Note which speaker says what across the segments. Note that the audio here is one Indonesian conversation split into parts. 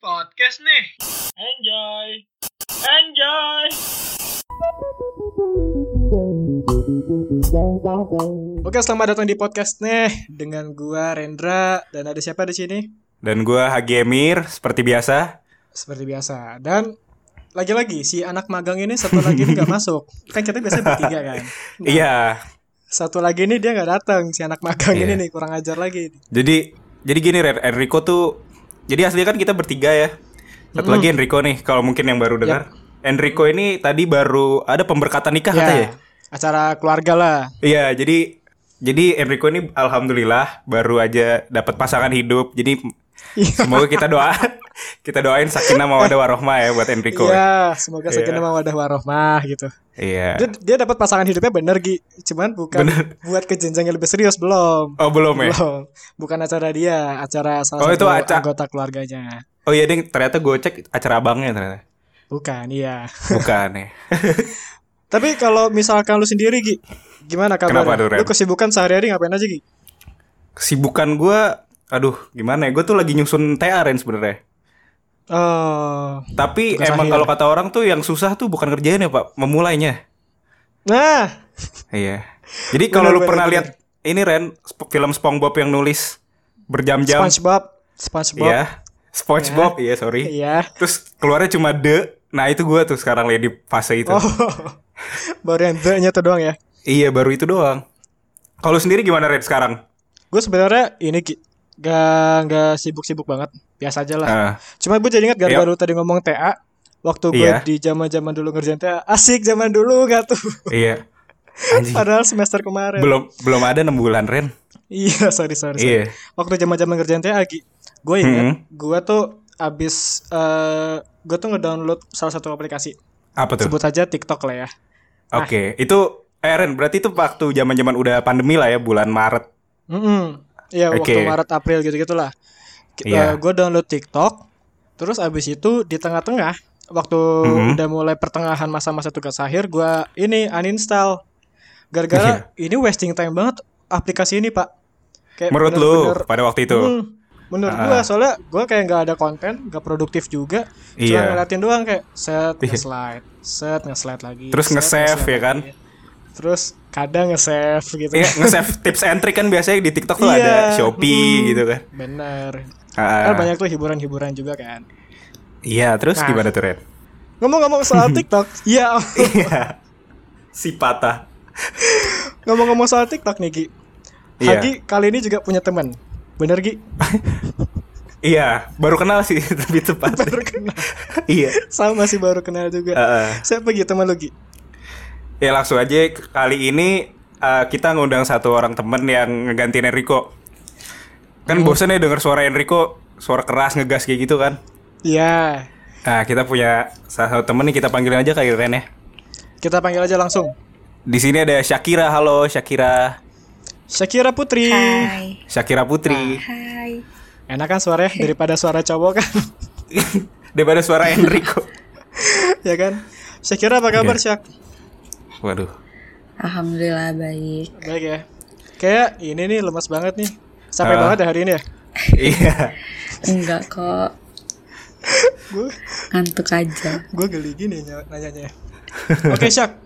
Speaker 1: podcast nih. Enjoy. Enjoy. Oke, selamat datang di podcast nih dengan gua Rendra dan ada siapa di sini?
Speaker 2: Dan gua Hagi Emir, seperti biasa.
Speaker 1: Seperti biasa. Dan lagi-lagi si anak magang ini satu lagi ini nggak masuk. Kan kita biasanya bertiga kan. Nah,
Speaker 2: Iya.
Speaker 1: Satu lagi ini dia nggak datang si anak magang
Speaker 2: Iya.
Speaker 1: ini nih kurang ajar lagi.
Speaker 2: Jadi jadi gini Ren, Enrico tuh jadi aslinya kan kita bertiga ya. Satu lagi Enrico nih kalau mungkin yang baru dengar. Enrico ini tadi baru ada pemberkatan nikah
Speaker 1: Iya.
Speaker 2: katanya ya.
Speaker 1: acara keluarga lah.
Speaker 2: Iya, jadi jadi Enrico ini alhamdulillah baru aja dapat pasangan hidup. Jadi
Speaker 1: Iya.
Speaker 2: semoga kita doa kita doain sakinah mawaddah warahmah ya buat Enrico. ya.
Speaker 1: Iya, semoga
Speaker 2: Iya.
Speaker 1: sakinah mawadah warohmah gitu.
Speaker 2: Iya.
Speaker 1: Dia, dia dapat pasangan hidupnya bener Gi, cuman bukan buat ke jenjang yang lebih serius belum.
Speaker 2: Oh, belum ya?
Speaker 1: Belum. Bukan acara dia, acara salah
Speaker 2: Oh, itu
Speaker 1: satu
Speaker 2: aca-
Speaker 1: anggota keluarganya.
Speaker 2: Oh iya, Ding, ternyata gue cek acara abangnya ternyata.
Speaker 1: Bukan, iya.
Speaker 2: Bukan ya.
Speaker 1: Tapi kalau misalkan lu sendiri Gi, gimana kabar?
Speaker 2: Kenapa tuh, Ren?
Speaker 1: Lu kesibukan sehari-hari ngapain aja Gi?
Speaker 2: Kesibukan gua aduh, gimana ya? Gue tuh lagi nyusun TA Ren sebenarnya.
Speaker 1: Oh.
Speaker 2: Tapi
Speaker 1: Tugas
Speaker 2: emang
Speaker 1: akhir.
Speaker 2: kalau kata orang tuh yang susah tuh bukan kerjain ya pak, memulainya.
Speaker 1: Nah,
Speaker 2: Iya. Jadi kalau lu
Speaker 1: Bener,
Speaker 2: pernah
Speaker 1: bener,
Speaker 2: lihat ini Ren sp- film SpongeBob yang nulis berjam-jam,
Speaker 1: SpongeBob, SpongeBob.
Speaker 2: iya, SpongeBob, iya sorry.
Speaker 1: Iya.
Speaker 2: Terus keluarnya cuma de. Nah itu gua tuh sekarang lagi di fase itu.
Speaker 1: Oh. Baru yang the-nya tuh doang ya.
Speaker 2: Iya baru itu doang. Kalau lu sendiri gimana Ren sekarang?
Speaker 1: Gue sebenarnya ini Ki, gak gak sibuk-sibuk banget, biasa aja lah.
Speaker 2: Ah,
Speaker 1: Cuma gue jadi ingat gara
Speaker 2: Iya.
Speaker 1: baru tadi ngomong TA, waktu gue
Speaker 2: Iya.
Speaker 1: di zaman zaman dulu ngerjain TA, asik zaman dulu gak tuh.
Speaker 2: iya. Anjing.
Speaker 1: Padahal semester kemarin.
Speaker 2: belum belum ada enam bulan Ren.
Speaker 1: Iya, sorry sorry. sorry.
Speaker 2: Iya.
Speaker 1: Waktu zaman zaman ngerjain TA, Ki, gue ingat
Speaker 2: Mm-mm.
Speaker 1: gue tuh abis eh gue tuh ngedownload salah satu aplikasi,
Speaker 2: Apa tuh?
Speaker 1: sebut saja TikTok lah ya.
Speaker 2: Oke, itu Eren berarti itu waktu zaman-zaman udah pandemi lah ya, bulan Maret.
Speaker 1: Eh, Mm-mm. Iya waktu
Speaker 2: Oke.
Speaker 1: Maret April gitu gitulah.
Speaker 2: Iya.
Speaker 1: gue eh, download TikTok, terus abis itu di tengah-tengah waktu
Speaker 2: Mhm.
Speaker 1: udah mulai pertengahan masa-masa tugas akhir gue ini uninstall gara-gara
Speaker 2: Iya.
Speaker 1: ini wasting time banget aplikasi ini pak. Kayak
Speaker 2: Menurut lu
Speaker 1: bener-bener-
Speaker 2: pada waktu itu.
Speaker 1: Hmm, menurut
Speaker 2: Ah.
Speaker 1: gue soalnya gue kayak nggak ada konten, nggak produktif juga, cuma
Speaker 2: Iya.
Speaker 1: ngeliatin doang kayak set
Speaker 2: Iya.
Speaker 1: nge-slide, set nge-slide lagi.
Speaker 2: Terus
Speaker 1: set,
Speaker 2: nge-save,
Speaker 1: nge-slide
Speaker 2: ya kan?
Speaker 1: lagi. Terus kadang nge-save gitu.
Speaker 2: Iya, nge-save tips and trick kan biasanya di TikTok tuh ada
Speaker 1: Iya,
Speaker 2: Shopee
Speaker 1: mm,
Speaker 2: gitu kan.
Speaker 1: Bener.
Speaker 2: Ah,
Speaker 1: Kan banyak tuh hiburan-hiburan juga kan.
Speaker 2: Iya, terus
Speaker 1: Nah.
Speaker 2: gimana tuh Ren?
Speaker 1: Ngomong-ngomong soal TikTok, ya
Speaker 2: Iya. si patah.
Speaker 1: ngomong-ngomong soal TikTok nih Gi.
Speaker 2: Iya.
Speaker 1: Hagi kali ini juga punya teman. Bener Gi?
Speaker 2: Iya, baru kenal sih lebih tepat.
Speaker 1: Baru kenal.
Speaker 2: iya.
Speaker 1: Sama sih baru kenal
Speaker 2: Ah,
Speaker 1: juga.
Speaker 2: ah.
Speaker 1: Siapa Gi teman lu Gi?
Speaker 2: Ya langsung aja kali ini eh, kita ngundang satu orang temen yang ngegantiin Enrico.
Speaker 1: Hmm.
Speaker 2: Kan bosen ya denger suara Enrico, suara keras ngegas kayak gitu kan.
Speaker 1: Iya.
Speaker 2: Nah, kita punya salah satu temen nih kita panggilin aja kali Ren ya.
Speaker 1: Kita panggil aja langsung.
Speaker 2: Di sini ada Shakira, halo Shakira.
Speaker 1: Shakira Putri.
Speaker 3: Hai.
Speaker 2: Shakira Putri.
Speaker 3: Hai.
Speaker 1: Enak kan suaranya daripada suara cowok kan?
Speaker 2: Daripada suara Enrico.
Speaker 1: ya kan? Shakira apa kabar, Syak?
Speaker 2: Waduh.
Speaker 3: Alhamdulillah baik.
Speaker 1: Baik ya. Kayak ini nih lemas banget nih. Sampai
Speaker 2: Ah.
Speaker 1: banget ya hari ini ya.
Speaker 2: Iya.
Speaker 3: Enggak kok.
Speaker 1: Gue
Speaker 3: Ngantuk aja.
Speaker 1: gue geli gini ny- nanyanya ya. oke Syak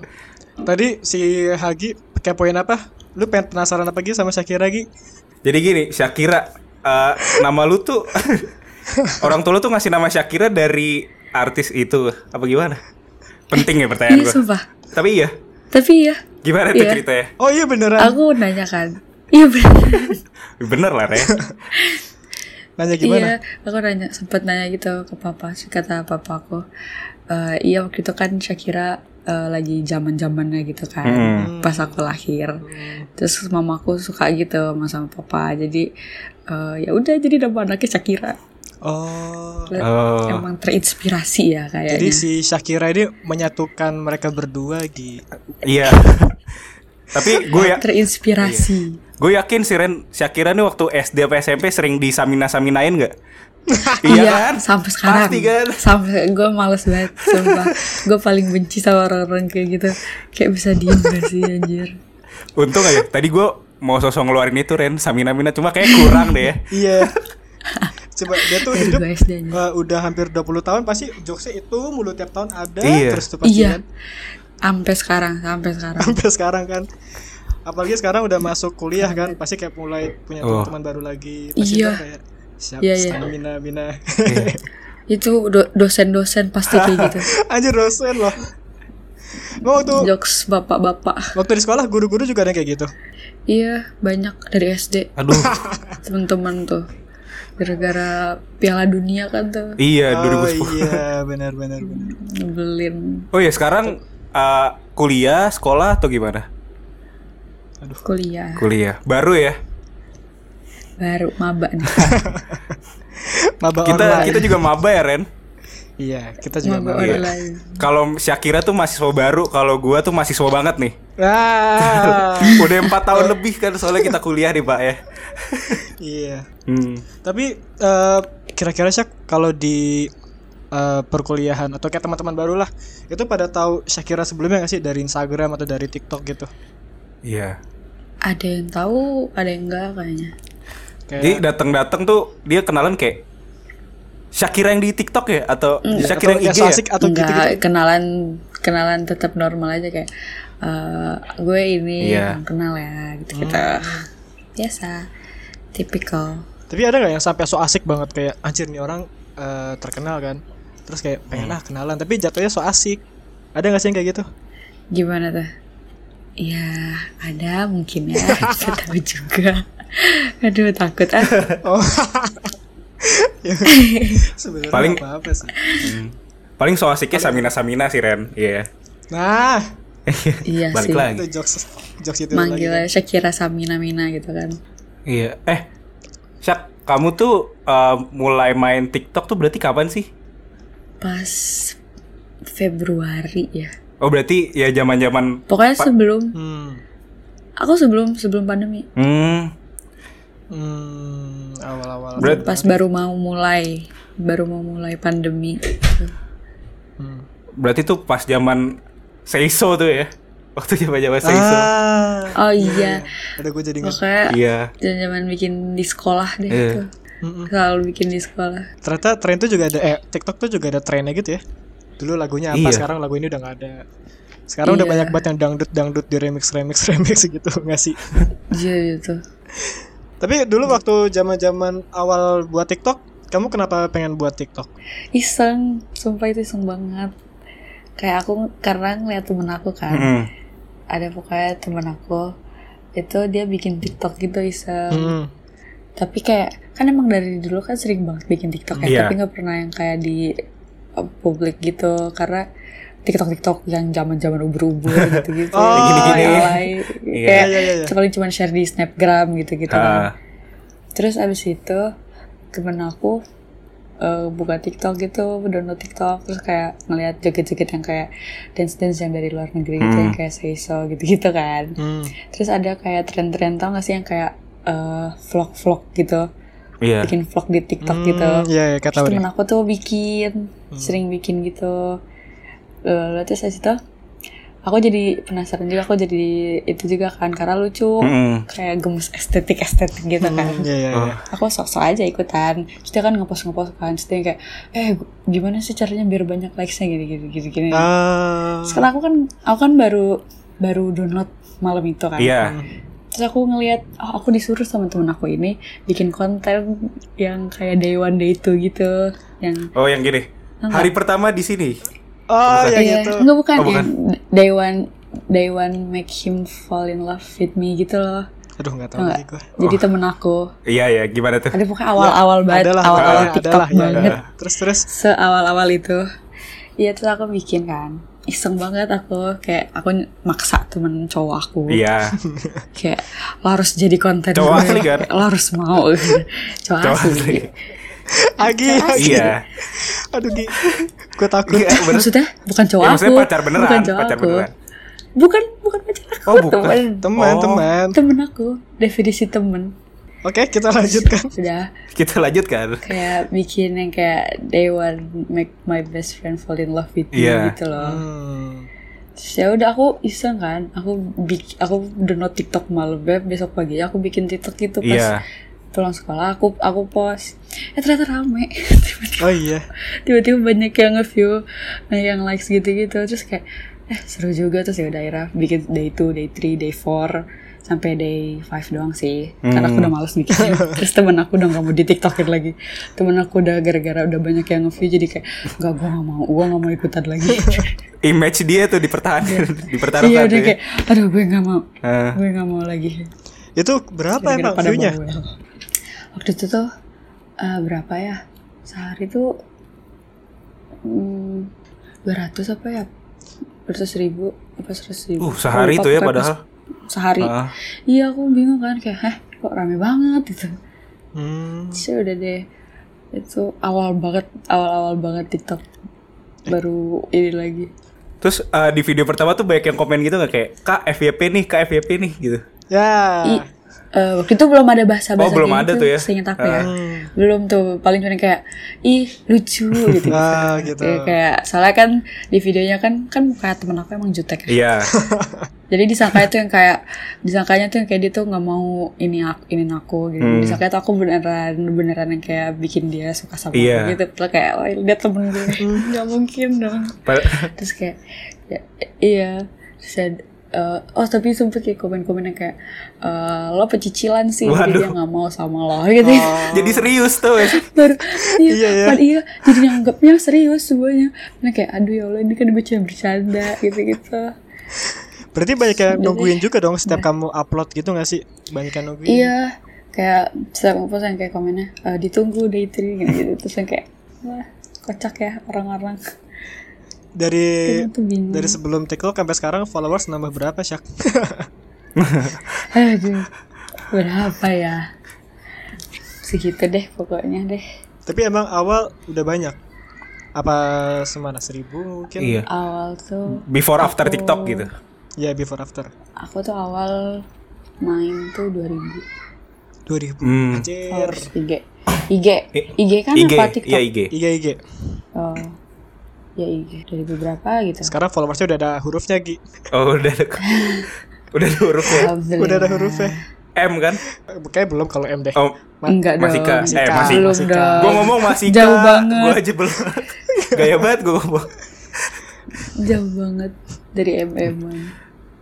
Speaker 1: tadi si Hagi kepoin apa lu pengen penasaran apa Gi sama Syakira Gi
Speaker 2: Jadi gini, Shakira eh, nama lu tuh orang tua lu tuh ngasih nama Shakira dari artis itu apa gimana? Penting ya pertanyaan
Speaker 3: Iya
Speaker 2: gua.
Speaker 3: sumpah.
Speaker 2: Tapi iya,
Speaker 3: Tapi ya,
Speaker 2: gimana tuh
Speaker 3: Iya.
Speaker 2: ceritanya?
Speaker 1: oh iya beneran
Speaker 3: aku nanya kan. Iya benar.
Speaker 2: Bener lah, Ren.
Speaker 1: nanya gimana
Speaker 3: Iya, aku nanya sempat nanya gitu ke papa. Terus Kata papa aku, "Eh, iya waktu itu kan Shakira eh, lagi zaman zamannya gitu kan.
Speaker 2: Mm.
Speaker 3: Pas aku lahir. Terus mamaku suka gitu sama sama papa. Jadi eh, ya udah jadi nama anaknya Shakira.
Speaker 1: oh
Speaker 2: Oh.
Speaker 3: Emang terinspirasi ya
Speaker 1: jadi
Speaker 3: kayaknya.
Speaker 1: si Syakira ini menyatukan mereka berdua Gi
Speaker 2: Iya. Tapi gue ya,
Speaker 3: terinspirasi.
Speaker 2: gue yakin si Ren Shakira nih waktu SD apa SMP sering disamina-saminain nggak? Iya
Speaker 1: Iya,
Speaker 3: Iya,
Speaker 2: kan?
Speaker 3: sampai sekarang.
Speaker 2: Pasti kan?
Speaker 3: Sampai gue males banget, sumpah. gue paling benci sama orang-orang kayak gitu. Kayak bisa diem gak sih, anjir.
Speaker 2: Untung aja tadi gue mau sosok ngeluarin itu Ren Samina Mina cuma kayak kurang deh ya.
Speaker 1: iya Coba dia tuh
Speaker 3: dari
Speaker 1: hidup
Speaker 3: gue SD aja.
Speaker 1: eh, udah hampir 20 tahun pasti jokesnya itu mulu tiap tahun ada
Speaker 2: Iya.
Speaker 1: terus tuh pasti
Speaker 3: Iya.
Speaker 1: kan.
Speaker 3: Sampai sekarang, sampai sekarang.
Speaker 1: sampai sekarang kan. Apalagi sekarang udah masuk kuliah kan, pasti kayak mulai punya
Speaker 2: Oh.
Speaker 1: teman baru lagi. Pasti
Speaker 3: Iya.
Speaker 1: udah kayak siap
Speaker 3: Iya, iya.
Speaker 1: stamina mina.
Speaker 2: Iya.
Speaker 3: Itu do- dosen-dosen pasti kayak gitu.
Speaker 1: Anjir dosen loh. Emang waktu
Speaker 3: Jokes bapak-bapak.
Speaker 1: waktu di sekolah guru-guru juga ada yang kayak gitu.
Speaker 3: Iya, banyak dari SD
Speaker 2: Aduh.
Speaker 3: teman-teman tuh. Gara-gara Piala Dunia kan tuh
Speaker 2: iya,
Speaker 1: Oh
Speaker 2: 2010.
Speaker 1: iya, benar benar benar.
Speaker 3: ngebelin
Speaker 2: Oh iya, sekarang eh, kuliah, sekolah atau gimana?
Speaker 3: kuliah
Speaker 2: Kuliah. Baru ya.
Speaker 3: baru maba nih.
Speaker 1: Maba
Speaker 2: Kita
Speaker 1: Oh, online.
Speaker 2: kita juga maba ya, Ren.
Speaker 1: Iya, kita juga
Speaker 3: maba
Speaker 1: maba.
Speaker 3: online.
Speaker 2: Kalau Syakira tuh mahasiswa baru, kalau gua tuh mahasiswa banget nih.
Speaker 1: Ah,
Speaker 2: Udah empat tahun lebih kan soalnya kita kuliah nih, Pak ya.
Speaker 1: iya.
Speaker 2: Hmm.
Speaker 1: Tapi eh, kira-kira sih kalau di eh, perkuliahan atau kayak teman-teman baru lah, itu pada tahu Shakira sebelumnya nggak sih dari Instagram atau dari TikTok gitu?
Speaker 2: Iya.
Speaker 3: Ada yang tahu, ada yang enggak kayaknya.
Speaker 1: Kayak
Speaker 2: Jadi datang-datang tuh dia kenalan kayak Syakira yang di TikTok ya atau Syakira
Speaker 1: Hmm,
Speaker 2: yang
Speaker 1: atau
Speaker 2: IG ya?
Speaker 1: asik atau
Speaker 3: enggak,
Speaker 1: gitu gitu.
Speaker 3: kenalan kenalan tetap normal aja kayak eh, gue
Speaker 2: Iya.
Speaker 3: ini
Speaker 2: Hmm.
Speaker 3: orang kenal ya gitu kita biasa tipikal
Speaker 1: Tapi ada nggak yang sampai so asik banget kayak anjir nih orang eh, terkenal kan? Terus kayak pengen ah
Speaker 2: Hmm.
Speaker 1: kenalan tapi jatuhnya so asik. Ada nggak sih yang kayak gitu?
Speaker 3: gimana tuh ya ada mungkin ya kita tahu juga aduh takut ah
Speaker 1: Oh. Ya, Sebenarnya
Speaker 2: Paling-
Speaker 1: apa apa sih?
Speaker 2: Paling so asiknya Samina-Samina sih, Ren. Iya.
Speaker 1: Nah,
Speaker 3: iya
Speaker 2: Balik
Speaker 3: sih
Speaker 2: lagi.
Speaker 1: itu jokes jokes itu lagi. kan.
Speaker 3: manggilnya Shakira Samina Mina gitu kan
Speaker 2: Iya. Eh, Syak, kamu tuh eh, mulai main TikTok tuh berarti kapan sih?
Speaker 3: pas Februari ya
Speaker 2: Oh, berarti ya zaman-zaman
Speaker 3: pokoknya sebelum
Speaker 1: Hmm.
Speaker 3: aku sebelum sebelum pandemi
Speaker 2: hmm,
Speaker 1: Hmm, awal-awal.
Speaker 2: Berat-
Speaker 3: pas baru mau mulai baru mau mulai pandemi gitu.
Speaker 1: Hmm.
Speaker 2: berarti tuh pas zaman Seiso tuh ya. Waktu zaman-zaman Seiso.
Speaker 1: Ah,
Speaker 3: oh iya
Speaker 1: ada gue jadi nggak.
Speaker 3: pokoknya
Speaker 2: Iya.
Speaker 3: jangan bikin di sekolah deh
Speaker 2: Iya.
Speaker 3: tuh selalu bikin di sekolah
Speaker 1: Ternyata tren tuh juga ada. Eh, TikTok tuh juga ada trennya gitu ya. Dulu lagunya apa?
Speaker 2: Iya.
Speaker 1: Sekarang lagu ini udah nggak ada. Sekarang udah
Speaker 3: Iya.
Speaker 1: banyak banget yang dangdut dangdut di remix remix remix gitu nggak sih?
Speaker 3: iya gitu
Speaker 1: Tapi dulu waktu zaman zaman awal buat TikTok, kamu kenapa pengen buat TikTok?
Speaker 3: iseng sumpah itu iseng banget kayak aku karena ngeliat temen aku kan
Speaker 2: Mm-mm.
Speaker 3: ada pokoknya temen aku itu dia bikin tiktok gitu iseng
Speaker 1: Hmm.
Speaker 3: tapi kayak kan emang dari dulu kan sering banget bikin TikTok
Speaker 2: Iya.
Speaker 3: ya, tapi nggak pernah yang kayak di uh, publik gitu karena TikTok TikTok yang zaman zaman ubur ubur gitu gitu
Speaker 1: Oh,
Speaker 2: Gini-gini. Iya.
Speaker 3: kayak
Speaker 1: Iya, iya, iya.
Speaker 3: paling cuma share di snapgram gitu gitu
Speaker 2: Ah,
Speaker 3: terus abis itu temen aku eh, buka TikTok gitu, download TikTok terus kayak ngeliat joget-joget yang kayak dance-dance yang dari luar negeri gitu
Speaker 2: Hmm.
Speaker 3: yang kayak seiso gitu-gitu kan.
Speaker 1: Hmm.
Speaker 3: Terus ada kayak tren-tren tau gak sih yang kayak eh, vlog-vlog gitu,
Speaker 2: iya.
Speaker 3: bikin vlog di TikTok
Speaker 1: Hmm,
Speaker 3: gitu.
Speaker 1: Iya, Hmm. iya, kata
Speaker 3: Terus
Speaker 1: deh.
Speaker 3: temen aku tuh bikin, sering bikin gitu. Lalu terus abis itu aku jadi penasaran juga, aku jadi itu juga kan karena lucu,
Speaker 2: Mm-mm.
Speaker 3: kayak gemes estetik-estetik gitu kan
Speaker 1: Hmm, Iya, iya,
Speaker 2: Oh,
Speaker 1: iya.
Speaker 3: aku sok-sok aja ikutan terus dia kan ngepost ngepost kan terus dia kayak eh gu- gimana sih caranya biar banyak likesnya gini gini gini gini
Speaker 2: Oh.
Speaker 1: Ah.
Speaker 3: Terus kan aku kan aku kan baru baru download malam itu kan
Speaker 2: Iya.
Speaker 3: terus aku ngelihat oh, aku disuruh sama temen aku ini bikin konten yang kayak day one day two gitu yang
Speaker 2: Oh, yang gini. Hari pertama di sini.
Speaker 1: Oh, iya
Speaker 3: Iya,
Speaker 1: gitu.
Speaker 3: enggak bukan,
Speaker 2: Oh, bukan.
Speaker 3: yang day one day one make him fall in love with me gitu loh
Speaker 1: Aduh, nggak tahu
Speaker 3: Enggak.
Speaker 1: lagi gue.
Speaker 3: jadi temen aku
Speaker 2: Iya, iya, gimana tuh?
Speaker 3: ada pokoknya awal-awal banget
Speaker 1: Ya, Adalah,
Speaker 3: awal-awal
Speaker 1: pokoknya
Speaker 3: TikTok
Speaker 1: adalah, iya,
Speaker 3: banget
Speaker 1: iya. Terus terus.
Speaker 3: seawal-awal itu Iya terus aku bikin kan Iseng banget aku Kayak aku ny- maksa temen cowok aku
Speaker 2: Iya.
Speaker 3: Kayak lo harus jadi konten
Speaker 2: Cowok
Speaker 3: gue.
Speaker 2: asli kan?
Speaker 3: Kayak, Lo harus mau Cowok
Speaker 2: Coba
Speaker 3: asli
Speaker 2: sih.
Speaker 1: Agi, Agi.
Speaker 2: Iya.
Speaker 1: Aduh, Gi. Gue takut.
Speaker 2: Iya, bener.
Speaker 3: Maksudnya bukan cowok
Speaker 2: Ya,
Speaker 3: aku
Speaker 2: maksudnya pacar beneran,
Speaker 3: Bukan cowok
Speaker 2: pacar
Speaker 3: aku
Speaker 2: beneran.
Speaker 3: Bukan, bukan pacar aku
Speaker 2: Oh, bukan.
Speaker 3: Temen,
Speaker 1: Teman,
Speaker 2: Oh.
Speaker 1: teman.
Speaker 3: temen aku Definisi temen
Speaker 1: Oke, kita lanjutkan.
Speaker 3: Sudah
Speaker 2: Kita kan? lanjutkan.
Speaker 3: kayak bikin yang kayak They want make my best friend fall in love with me
Speaker 2: Iya.
Speaker 3: gitu loh
Speaker 1: Hmm.
Speaker 3: Terus ya udah aku iseng ya, kan, aku bik, aku download TikTok malam beb besok pagi aku bikin TikTok gitu
Speaker 2: Iya.
Speaker 3: pas pulang sekolah aku aku post eh ternyata rame
Speaker 1: Oh iya.
Speaker 3: tiba-tiba banyak yang nge-view nah, yang likes gitu-gitu terus kayak eh seru juga terus ya udah akhirnya bikin day 2, day 3, day 4 sampai day 5 doang sih karena aku udah males bikin terus temen aku udah gak mau di tiktokin lagi temen aku udah gara-gara udah banyak yang nge-view jadi kayak gak gue gak mau gue gak mau ikutan lagi
Speaker 2: Image dia tuh dipertahankan, dipertaruhkan.
Speaker 3: iya udah
Speaker 2: tuh ya.
Speaker 3: kayak aduh gue gak mau
Speaker 2: Eh.
Speaker 3: gue gak mau lagi
Speaker 1: Itu berapa
Speaker 3: Kira-kira
Speaker 1: emang
Speaker 3: pada
Speaker 1: view-nya?
Speaker 3: bawel. Waktu itu tuh eh, berapa ya? Sehari tuh hmm, 200 apa ya? 200 ribu apa 100 ribu?
Speaker 2: Uh, sehari
Speaker 3: Lupa
Speaker 2: tuh ya
Speaker 3: pokoknya
Speaker 2: padahal.
Speaker 3: pas- Sehari.
Speaker 2: Ah.
Speaker 3: Iya aku bingung kan kayak, heh kok rame banget gitu.
Speaker 1: Hmm.
Speaker 3: Terus ya udah deh itu awal banget awal-awal banget TikTok baru ini lagi
Speaker 2: Terus eh, di video pertama tuh banyak yang komen gitu nggak kayak Kak FYP nih, Kak FYP nih gitu.
Speaker 1: Ya.
Speaker 3: I, eh, waktu itu belum ada bahasa
Speaker 2: Oh,
Speaker 3: bahasa
Speaker 2: belum ada tuh ya.
Speaker 3: seingat aku ya
Speaker 1: Hmm.
Speaker 3: belum tuh paling cuma kayak ih lucu gitu
Speaker 1: Ah, gitu.
Speaker 3: Ya, kayak soalnya kan di videonya kan kan muka temen aku emang jutek ya.
Speaker 2: Iya.
Speaker 3: Jadi disangka itu yang kayak disangkanya tuh yang kayak dia tuh nggak mau ini aku ini aku gitu.
Speaker 2: Hmm.
Speaker 3: Disangka tuh aku beneran beneran yang kayak bikin dia suka sama
Speaker 2: Iya.
Speaker 3: aku gitu. Terus kayak wah dia temen gue
Speaker 1: Hmm.
Speaker 3: nggak mungkin dong.
Speaker 2: Pa-
Speaker 3: Terus kayak ya, iya terus ada- eh, oh tapi sempet kayak komen-komen yang kayak eh, lo pecicilan sih jadi
Speaker 2: Waduh.
Speaker 3: dia nggak mau sama lo gitu
Speaker 1: Oh.
Speaker 2: Jadi serius tuh. ya.
Speaker 3: baru iya,
Speaker 1: Iya, iya.
Speaker 3: pan, iya. jadi nyanggapnya serius semuanya nah kayak aduh ya allah ini kan gue cuma bercanda gitu gitu
Speaker 1: Berarti banyak yang nungguin juga dong setiap kamu upload gitu gak sih? Banyak yang nungguin.
Speaker 3: iya kayak setiap aku yang kayak komennya "Eh, ditunggu day three gitu, gitu terus yang kayak wah kocak ya orang-orang
Speaker 1: Dari
Speaker 3: Kadang tuh bingung
Speaker 1: dari sebelum TikTok sampai sekarang followers nambah berapa, Syak?
Speaker 3: aduh berapa ya segitu deh pokoknya deh
Speaker 1: Tapi emang awal udah banyak. Apa semana seribu mungkin?
Speaker 2: Iya.
Speaker 3: awal tuh
Speaker 2: Before after
Speaker 3: Oh.
Speaker 2: TikTok gitu.
Speaker 1: Ya before after.
Speaker 3: aku tuh awal main tuh oh,
Speaker 1: 2000.
Speaker 3: 2000
Speaker 2: Hmm.
Speaker 1: Anjir.
Speaker 3: Followers IG IG IG kan
Speaker 2: IG,
Speaker 3: apa TikTok
Speaker 2: iya IG.
Speaker 1: IG IG.
Speaker 3: Oh, ya IG dari beberapa gitu.
Speaker 1: Sekarang followersnya udah ada hurufnya, Gi.
Speaker 2: Oh, udah ada udah ada hurufnya.
Speaker 3: Alhamdulillah.
Speaker 1: Udah ada hurufnya.
Speaker 2: M kan?
Speaker 1: Kayaknya belum kalau M deh.
Speaker 2: Oh,
Speaker 3: Enggak dong.
Speaker 2: Masih K. Eh,
Speaker 3: Masih K.
Speaker 2: masih-
Speaker 3: Belum
Speaker 1: masih K.
Speaker 3: dong.
Speaker 2: Gua ngomong masih
Speaker 3: Eh, Jauh banget.
Speaker 2: Gue aja belum. Gaya banget gue ngomong.
Speaker 3: Jauh banget dari MM. -an.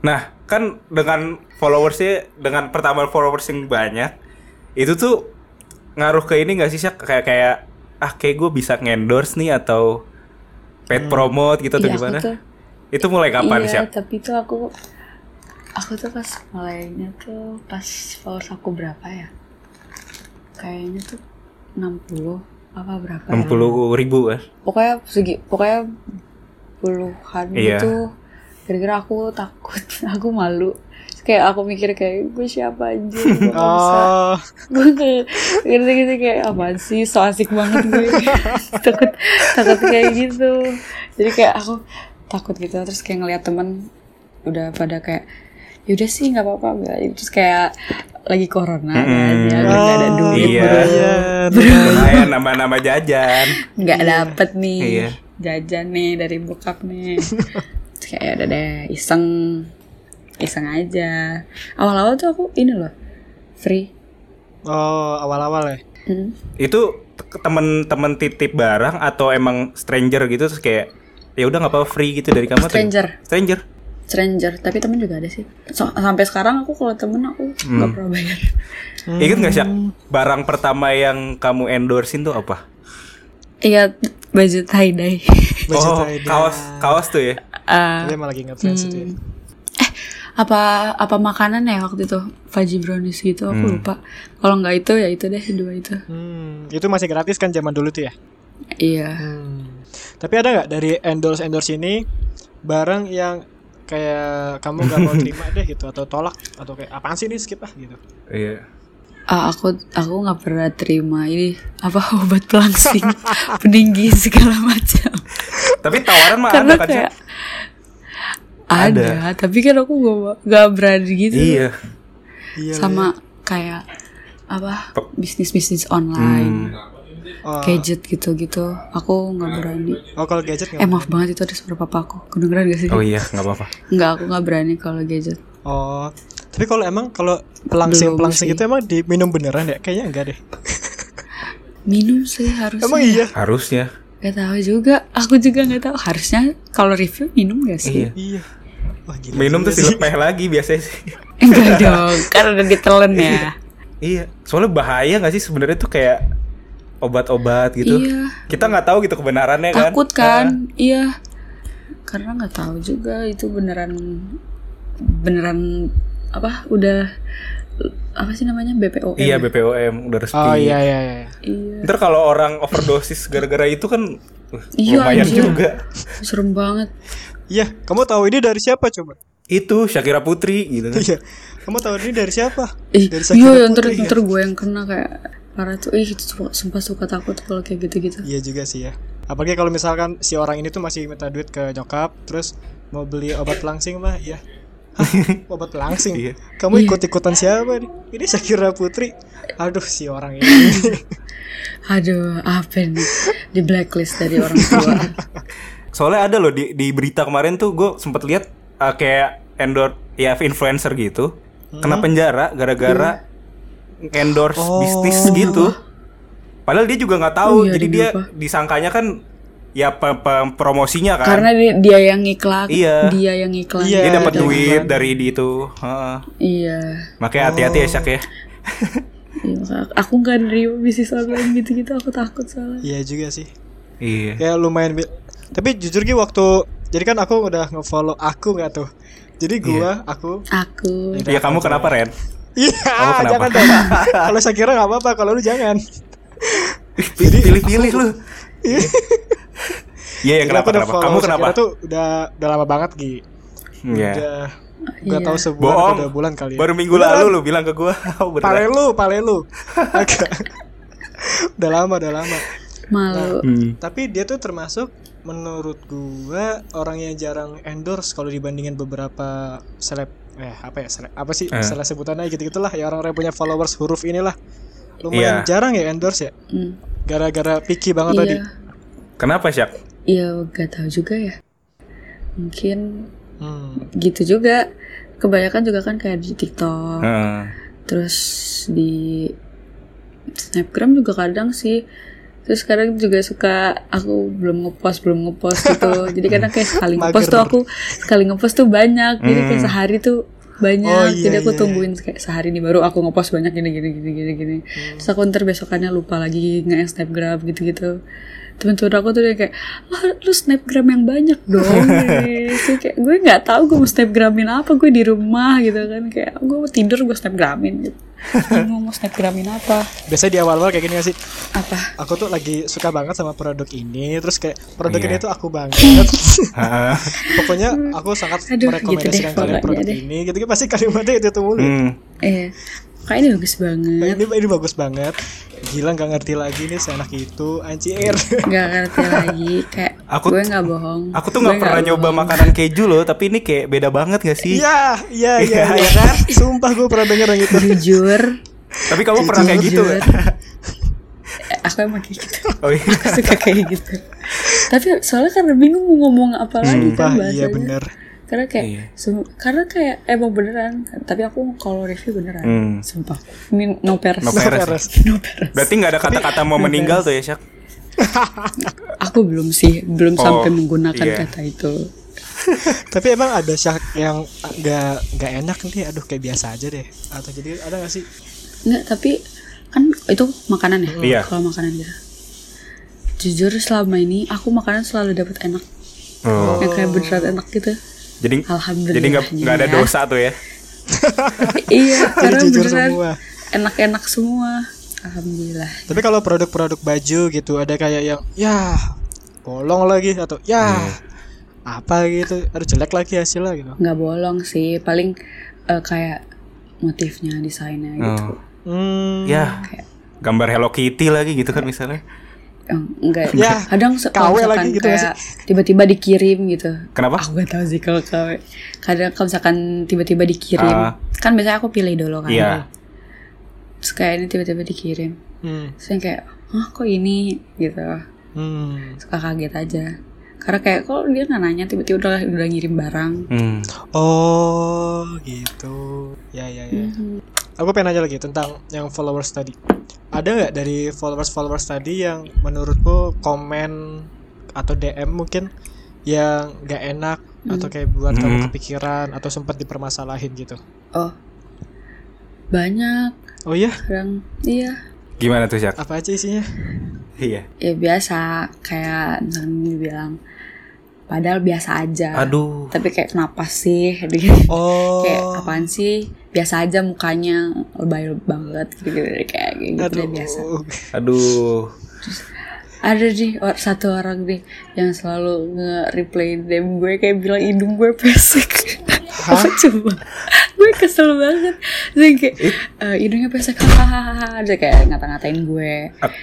Speaker 2: Nah, kan dengan followersnya, dengan pertambahan followers yang banyak, itu tuh ngaruh ke ini nggak sih Syak? Kayak kayak ah kayak gue bisa endorse nih atau paid promote gitu atau
Speaker 3: Iya, aku
Speaker 2: gimana?
Speaker 3: tuh-
Speaker 2: Itu mulai kapan
Speaker 3: iya,
Speaker 2: Syak?
Speaker 3: tapi itu aku aku tuh pas mulainya tuh pas followers aku berapa ya? Kayaknya tuh 60 apa berapa? ya?
Speaker 2: 60 ribu kan?
Speaker 3: Pokoknya segi pokoknya puluhan
Speaker 2: Iya.
Speaker 3: gitu. Kira-kira aku takut, aku malu. Terus kayak aku mikir kayak gue siapa aja, gue nggak bisa
Speaker 1: Oh,
Speaker 3: gue kayak gitu gitu kayak apaan sih so asik banget gue takut takut kayak gitu jadi kayak aku takut gitu terus kayak ngeliat temen udah pada kayak yaudah sih nggak apa-apa Mbak." terus kayak lagi corona kan
Speaker 2: Mm-mm.
Speaker 3: ya nggak
Speaker 1: oh,
Speaker 3: ada duit
Speaker 2: Iya.
Speaker 1: lumayan.
Speaker 2: Lumayan nama-nama jajan.
Speaker 3: nggak dapet nih
Speaker 2: Iya.
Speaker 3: jajan nih dari bokap nih Terus kayak "Ya udah deh iseng iseng aja awal-awal tuh aku ini loh free
Speaker 1: Oh, awal-awal ya.
Speaker 3: Hmm.
Speaker 2: Itu te- temen-temen titip barang atau emang stranger gitu terus kayak ya udah nggak apa-apa free gitu dari kamu atau-
Speaker 3: stranger
Speaker 2: Stranger.
Speaker 3: stranger tapi temen juga ada sih So- sampai sekarang aku kalau temen aku nggak pernah bayar
Speaker 2: Ingat nggak Syak?
Speaker 3: Hmm.
Speaker 2: Barang pertama yang kamu endorsein tuh apa?
Speaker 3: iya baju tie dye
Speaker 1: Baju
Speaker 2: oh,
Speaker 1: tie-dye.
Speaker 2: kaos kaos tuh ya.
Speaker 3: Eh,
Speaker 1: Dia malah lagi ngetrend itu ya.
Speaker 3: apa apa makanan ya waktu itu fudgy brownies gitu aku lupa kalau nggak itu ya itu deh dua itu
Speaker 1: Hmm, itu masih gratis kan zaman dulu tuh ya.
Speaker 3: iya
Speaker 1: Hmm. Tapi ada nggak dari endorse endorse ini barang yang kayak kamu nggak mau terima deh gitu atau tolak atau kayak apaan sih ini skip ah gitu.
Speaker 2: Iya.
Speaker 3: Ah, aku aku nggak pernah terima ini apa obat pelangsing peninggi segala macam
Speaker 2: Tapi tawaran mah
Speaker 3: karena
Speaker 2: ada kan.
Speaker 3: kayak
Speaker 2: Syak?
Speaker 3: ada, tapi kan aku nggak- nggak berani gitu
Speaker 2: Iya.
Speaker 1: Iya.
Speaker 3: sama kayak apa bisnis bisnis
Speaker 2: Hmm.
Speaker 3: online Ah.
Speaker 1: Oh,
Speaker 3: gadget gitu-gitu aku nggak berani
Speaker 1: oh, kalau gadget
Speaker 3: eh
Speaker 1: nggak?
Speaker 3: maaf banget
Speaker 2: iya.
Speaker 3: itu ada suara papa aku kedengeran gak sih
Speaker 2: Oh iya, nggak apa-apa.
Speaker 3: nggak aku nggak berani kalau gadget
Speaker 1: Oh, Tapi kalau emang kalau pelangsing-pelangsing
Speaker 3: sih.
Speaker 1: itu emang diminum beneran ya? Kayaknya enggak deh.
Speaker 3: minum sih harusnya
Speaker 1: Emang iya.
Speaker 2: Harusnya.
Speaker 3: Gak tahu juga, aku juga nggak tahu. Harusnya kalau review minum gak sih?
Speaker 2: Iya.
Speaker 1: Iya. Wah, gila
Speaker 2: Minum
Speaker 1: juga
Speaker 2: terus
Speaker 1: sih.
Speaker 2: dilepeh lagi biasanya sih.
Speaker 3: Enggak dong, karena udah ditelen ya.
Speaker 2: Iya, soalnya bahaya nggak sih sebenarnya tuh kayak obat-obat gitu.
Speaker 3: Iya.
Speaker 2: Kita nggak tahu gitu kebenarannya kan.
Speaker 3: Takut kan? Iya. Karena nggak tahu juga itu beneran beneran apa? Udah apa sih namanya BPOM?
Speaker 2: Iya
Speaker 3: ya?
Speaker 2: BPOM udah resmi.
Speaker 1: Oh iya iya iya.
Speaker 3: Iya.
Speaker 2: Ntar kalau orang overdosis gara-gara itu kan uh,
Speaker 3: Iya,
Speaker 2: lumayan
Speaker 3: anjir.
Speaker 2: juga.
Speaker 3: Serem banget.
Speaker 1: Iya, kamu tahu ini dari siapa coba?
Speaker 2: Itu Shakira Putri gitu kan.
Speaker 1: Iya. Kamu tahu ini dari siapa?
Speaker 3: Ih,
Speaker 1: dari
Speaker 3: iya,
Speaker 1: Shakira
Speaker 3: ntar,
Speaker 1: Putri,
Speaker 3: ntar gue yang kena kayak Karena tuh, ih, itu suka- sumpah suka takut kalau kayak gitu-gitu.
Speaker 1: Iya juga sih ya. Apalagi kalau misalkan si orang ini tuh masih minta duit ke nyokap, terus mau beli obat langsing mah, iya. Hah, obat langsing.
Speaker 2: Iya.
Speaker 1: Kamu
Speaker 3: Iya.
Speaker 1: ikut-ikutan siapa nih? Ini Shakira Putri. Aduh si orang ini.
Speaker 3: Aduh, apa nih? Di blacklist dari orang
Speaker 2: Kan?
Speaker 3: tua.
Speaker 2: Soalnya ada loh di, di berita kemarin tuh gue sempet lihat uh, kayak endorse ya influencer gitu kena penjara gara-gara endorse
Speaker 1: Oh.
Speaker 2: bisnis gitu. Padahal dia juga nggak tahu.
Speaker 3: Oh iya,
Speaker 2: jadi
Speaker 3: dia
Speaker 2: dia
Speaker 3: lupa.
Speaker 2: disangkanya kan ya pe- pe- promosinya kan.
Speaker 3: Karena di- dia yang ngiklan,
Speaker 2: Iya.
Speaker 3: dia yang ngiklan.
Speaker 1: Iya,
Speaker 2: dia dapat
Speaker 1: dia
Speaker 2: duit dari di itu. Heeh.
Speaker 3: Iya.
Speaker 2: Makanya hati-hati ya Syak ya.
Speaker 3: Iya, makanya aku nggak nerima bisnis online gitu-gitu, aku takut soalnya.
Speaker 1: Iya juga sih.
Speaker 2: Iya.
Speaker 1: Ya lumayan. bi- Tapi jujur Ki waktu jadi kan aku udah ngefollow aku nggak tuh. Jadi gua
Speaker 3: Iya.
Speaker 1: aku
Speaker 3: Aku
Speaker 2: Ya kamu kenapa Ren? Kamu
Speaker 1: Iya,
Speaker 2: kenapa?
Speaker 1: jangan dong. kalau Shakira nggak apa-apa, kalau lu jangan.
Speaker 2: Pilih-pilih lu. Iya, ya,
Speaker 1: Jadi
Speaker 2: kenapa
Speaker 1: aku udah
Speaker 2: kenapa?
Speaker 1: follow
Speaker 2: Kamu kenapa?
Speaker 1: Shakira tuh udah udah lama banget Ki.
Speaker 2: Iya.
Speaker 1: Udah gua
Speaker 3: Iya.
Speaker 1: tahu sebulan atau
Speaker 2: Bohong.
Speaker 1: dua bulan kali. Ya.
Speaker 2: Baru minggu lalu lu bilang ke gua. Oh,
Speaker 1: Pale
Speaker 2: beneran.
Speaker 1: lu, pale lu. Agak. udah lama, udah lama. Nah.
Speaker 3: malu.
Speaker 2: Hmm.
Speaker 1: Tapi dia tuh termasuk menurut gua orang yang jarang endorse kalau dibandingin beberapa seleb eh apa ya seleb apa sih
Speaker 2: Eh.
Speaker 1: salah sebutannya gitu gitulah ya orang-orang yang punya followers huruf inilah lumayan
Speaker 2: Iya.
Speaker 1: jarang ya endorse ya
Speaker 3: Hmm.
Speaker 1: gara-gara picky banget tadi
Speaker 3: Iya,
Speaker 2: Kenapa Syak?
Speaker 3: iya nggak tahu juga ya. Mungkin
Speaker 1: hmm.
Speaker 3: gitu juga. Kebanyakan juga kan kayak di TikTok,
Speaker 2: Heeh.
Speaker 3: terus di Snapgram juga kadang sih terus kadang juga suka aku belum ngepost belum ngepost gitu jadi kadang kayak sekali ngepost tuh
Speaker 1: Mager.
Speaker 3: aku sekali ngepost tuh banyak jadi kayak
Speaker 2: Hmm.
Speaker 3: sehari tuh banyak
Speaker 1: Oh, iya,
Speaker 3: jadi aku
Speaker 1: iya,
Speaker 3: tungguin kayak sehari ini baru aku ngepost banyak gini gini gini gini gini
Speaker 2: Hmm.
Speaker 3: terus aku ntar besokannya lupa lagi nge snapgram gitu gitu temen-temen aku tuh dia kayak ah, lu snapgram yang banyak dong Terus kayak gue nggak tahu gue mau snapgramin apa gue di rumah gitu kan kayak gue mau tidur gue snapgramin gitu gue mau snapgramin apa
Speaker 1: biasanya di awal-awal kayak gini gak sih
Speaker 3: apa
Speaker 1: aku tuh lagi suka banget sama produk ini terus kayak produk
Speaker 2: Iya.
Speaker 1: ini tuh aku banget
Speaker 2: Heeh.
Speaker 1: pokoknya aku sangat
Speaker 3: Aduh,
Speaker 1: merekomendasikan
Speaker 3: gitu deh,
Speaker 1: kalian produk
Speaker 3: pokoknya deh.
Speaker 1: ini gitu kan pasti kalimatnya itu itu mulu ya.
Speaker 2: Hmm.
Speaker 3: eh kayak ini bagus
Speaker 1: Nah,
Speaker 3: banget
Speaker 1: ini ini bagus banget gila nggak ngerti lagi nih seenak itu anjir
Speaker 3: nggak ngerti lagi kayak
Speaker 2: Aku-
Speaker 3: gue nggak bohong
Speaker 2: Aku tuh
Speaker 3: Gue
Speaker 2: nggak pernah nyoba
Speaker 3: bohong.
Speaker 2: makanan keju loh, tapi ini kayak beda banget gak sih?
Speaker 1: iya iya iya
Speaker 2: Iya, Hmm.
Speaker 1: iya
Speaker 2: iya kan?
Speaker 1: sumpah gue pernah denger yang itu
Speaker 3: jujur
Speaker 2: Tapi kamu pernah kayak gitu gak?
Speaker 3: jujur. eh, aku emang kayak gitu
Speaker 2: Oh iya.
Speaker 3: Aku suka kayak gitu tapi soalnya karena bingung mau ngomong apa lagi
Speaker 1: sumpah
Speaker 3: kan
Speaker 1: iya
Speaker 3: bahasanya
Speaker 1: bener
Speaker 3: karena kayak
Speaker 2: Iya.
Speaker 3: sem- karena kayak emang beneran tapi aku kalau review beneran
Speaker 2: Hmm.
Speaker 3: sumpah Ini no pers
Speaker 2: No peres.
Speaker 1: Peres.
Speaker 3: No peres.
Speaker 2: Berarti nggak ada kata-kata mau meninggal tuh ya Syak?
Speaker 3: aku belum sih belum
Speaker 2: Oh,
Speaker 3: sampai menggunakan
Speaker 2: iya.
Speaker 3: kata itu
Speaker 1: tapi emang ada syak yang nggak nggak enak nih aduh kayak biasa aja deh atau jadi ada nggak sih
Speaker 3: Enggak, tapi kan itu makanan ya.
Speaker 2: Iya.
Speaker 3: Kalau makanan gitu. Jujur selama ini aku makanan selalu dapat enak.
Speaker 2: Oh.
Speaker 3: Yang kayak beneran enak gitu.
Speaker 2: Jadi
Speaker 3: Alhamdulillah.
Speaker 2: jadi nggak nggak ada
Speaker 3: Ya.
Speaker 2: dosa tuh ya?
Speaker 3: iya,
Speaker 1: jadi
Speaker 3: karena
Speaker 1: jujur
Speaker 3: beneran
Speaker 1: semua
Speaker 3: enak-enak semua. Alhamdulillah.
Speaker 1: Tapi kalau produk-produk baju gitu ada kayak yang ya bolong lagi atau ya apa gitu, aduh jelek lagi hasilnya gitu.
Speaker 3: Nggak bolong sih, paling eh, kayak motifnya, desainnya gitu.
Speaker 2: Oh.
Speaker 1: Hmm.
Speaker 2: Ya. Gambar Hello Kitty lagi gitu kan misalnya.
Speaker 3: Eh, Enggak,
Speaker 1: Ya,
Speaker 3: kadang se-
Speaker 1: KW
Speaker 3: kalau misalkan
Speaker 1: lagi gitu nggak
Speaker 3: kayak tiba-tiba dikirim gitu.
Speaker 2: Kenapa?
Speaker 3: Aku gak tahu sih kalau KW. Kadang kalau misalkan tiba-tiba dikirim,
Speaker 2: Ah.
Speaker 3: kan biasanya aku pilih dulu kan.
Speaker 2: Iya.
Speaker 3: Terus kayak ini tiba-tiba dikirim.
Speaker 1: Hmm.
Speaker 3: Terus yang kayak, hah kok ini? Gitu.
Speaker 1: Hmm.
Speaker 3: Suka kaget aja. karena kayak kok dia nggak nanya tiba-tiba udah udah ngirim barang
Speaker 2: Hmm.
Speaker 1: Oh, gitu. Ya, ya, ya. Aku pengen nanya lagi tentang yang followers tadi. Ada nggak dari followers-followers tadi yang menurutmu komen atau DM mungkin yang nggak enak atau kayak buat kamu
Speaker 2: Hmm.
Speaker 1: kepikiran atau sempat dipermasalahin gitu?
Speaker 3: oh banyak
Speaker 1: Oh iya,
Speaker 3: orang iya
Speaker 2: Gimana tuh Syak?
Speaker 1: apa aja isinya?
Speaker 2: Iya.
Speaker 3: ya biasa kayak misalnya dibilang padahal biasa aja
Speaker 2: Aduh.
Speaker 3: tapi kayak kenapa sih Gitu.
Speaker 1: Oh,
Speaker 3: kayak apaan sih biasa aja mukanya lebay banget gitu, gitu kayak gitu
Speaker 1: aduh.
Speaker 3: deh biasa
Speaker 2: Aduh.
Speaker 3: ada sih or- satu orang deh yang selalu nge-replay DM gue kayak bilang hidung gue pesek
Speaker 1: Hah?
Speaker 3: apa coba gue kesel banget Terus kayak "Eh, hidungnya pesek hahaha dia kayak ngata-ngatain gue
Speaker 2: Ak-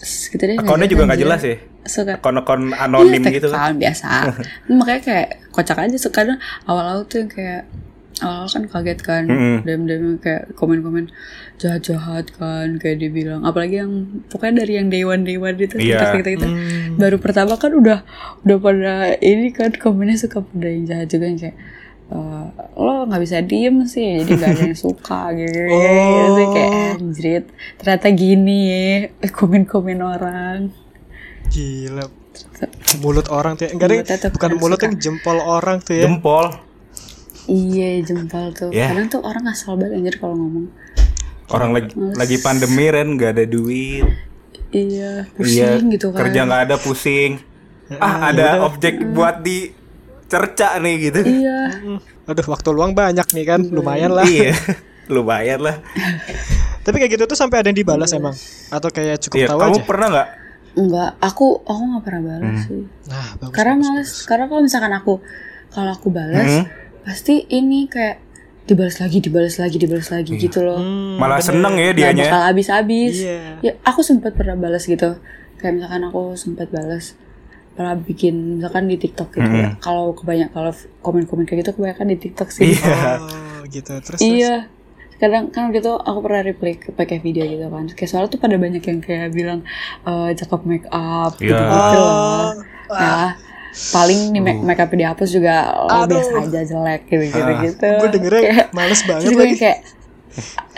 Speaker 3: Terus gitu deh
Speaker 2: Akunnya
Speaker 3: ngajarin
Speaker 2: juga nggak
Speaker 3: aja.
Speaker 2: jelas ya.
Speaker 3: suka
Speaker 2: Akun-akun anonim
Speaker 3: Iya, fake
Speaker 2: gitu kan.
Speaker 3: account biasa makanya kayak kocak aja suka kadang awal-awal tuh yang kayak awal kan kaget kan
Speaker 2: Mm-mm.
Speaker 3: dem-dem kayak komen-komen jahat-jahat kan kayak dibilang apalagi yang pokoknya dari yang day one day one itu
Speaker 2: Iya.
Speaker 3: kita kita baru pertama kan udah udah pada ini kan komennya suka pada yang jahat juga yang kayak eh, lo nggak bisa diem sih jadi nggak ada yang suka gitu Terus kayak
Speaker 2: Oh.
Speaker 3: anjrit ternyata gini ya eh, komen-komen orang
Speaker 1: Gila. Mulut orang tuh ya. Enggak
Speaker 3: Mulutnya
Speaker 1: deh,
Speaker 3: tuh
Speaker 1: bukan
Speaker 3: kadang
Speaker 1: mulut
Speaker 3: suka.
Speaker 1: yang jempol orang tuh ya.
Speaker 2: Jempol.
Speaker 3: Iya jempol tuh.
Speaker 2: Ya.
Speaker 3: Kadang tuh orang asal banget anjir kalau ngomong.
Speaker 2: Orang lagi lagi pandemi Ren nggak ada duit.
Speaker 3: Iya pusing
Speaker 2: Iya,
Speaker 3: gitu kan.
Speaker 2: Kerja nggak ada pusing. Ah ada objek buat dicerca nih gitu.
Speaker 3: Iya.
Speaker 1: Aduh, waktu luang banyak nih kan, lumayan lah.
Speaker 2: Iya. Lumayan lah.
Speaker 1: Tapi kayak gitu tuh sampai ada yang
Speaker 3: Iya.
Speaker 1: dibalas emang, atau kayak cukup
Speaker 2: Iya,
Speaker 1: tahu
Speaker 2: kamu
Speaker 1: aja.
Speaker 2: pernah nggak?
Speaker 3: Enggak. Aku aku nggak pernah balas
Speaker 2: Hmm.
Speaker 3: sih.
Speaker 1: Nah, bagus.
Speaker 3: Karena
Speaker 1: bagus.
Speaker 3: males. Karena kalau misalkan aku kalau aku balas
Speaker 2: Hmm.
Speaker 3: pasti ini kayak dibalas lagi, dibalas lagi, dibalas lagi gitu loh.
Speaker 1: Hmm,
Speaker 2: Malah
Speaker 1: bener.
Speaker 2: seneng ya
Speaker 3: Nggak
Speaker 2: Iya. dianya.
Speaker 3: bakal habis-habis.
Speaker 1: Iya.
Speaker 3: Ya aku sempat pernah balas gitu. Kayak misalkan aku sempat balas pernah bikin misalkan di TikTok gitu ya. Kalau kebanyak kalau komen-komen kayak gitu kebanyakan di TikTok sih.
Speaker 2: Hmm. Iya.
Speaker 1: Oh, gitu. Terus terus.
Speaker 3: Iya. Kadang kan waktu itu aku pernah reply ke- pakai video gitu kan. Kayak soalnya tuh pada banyak yang kayak bilang eh cakep make up
Speaker 2: Iya.
Speaker 3: gitu-gitu
Speaker 1: Ah.
Speaker 3: loh. Nah, paling nih make, make up dihapus juga oh,
Speaker 1: Aduh.
Speaker 3: biasa aja jelek gitu-gitu gitu.
Speaker 1: Gue dengernya
Speaker 3: Kayak-
Speaker 1: males banget
Speaker 3: Terus gue
Speaker 1: lagi.
Speaker 3: kayak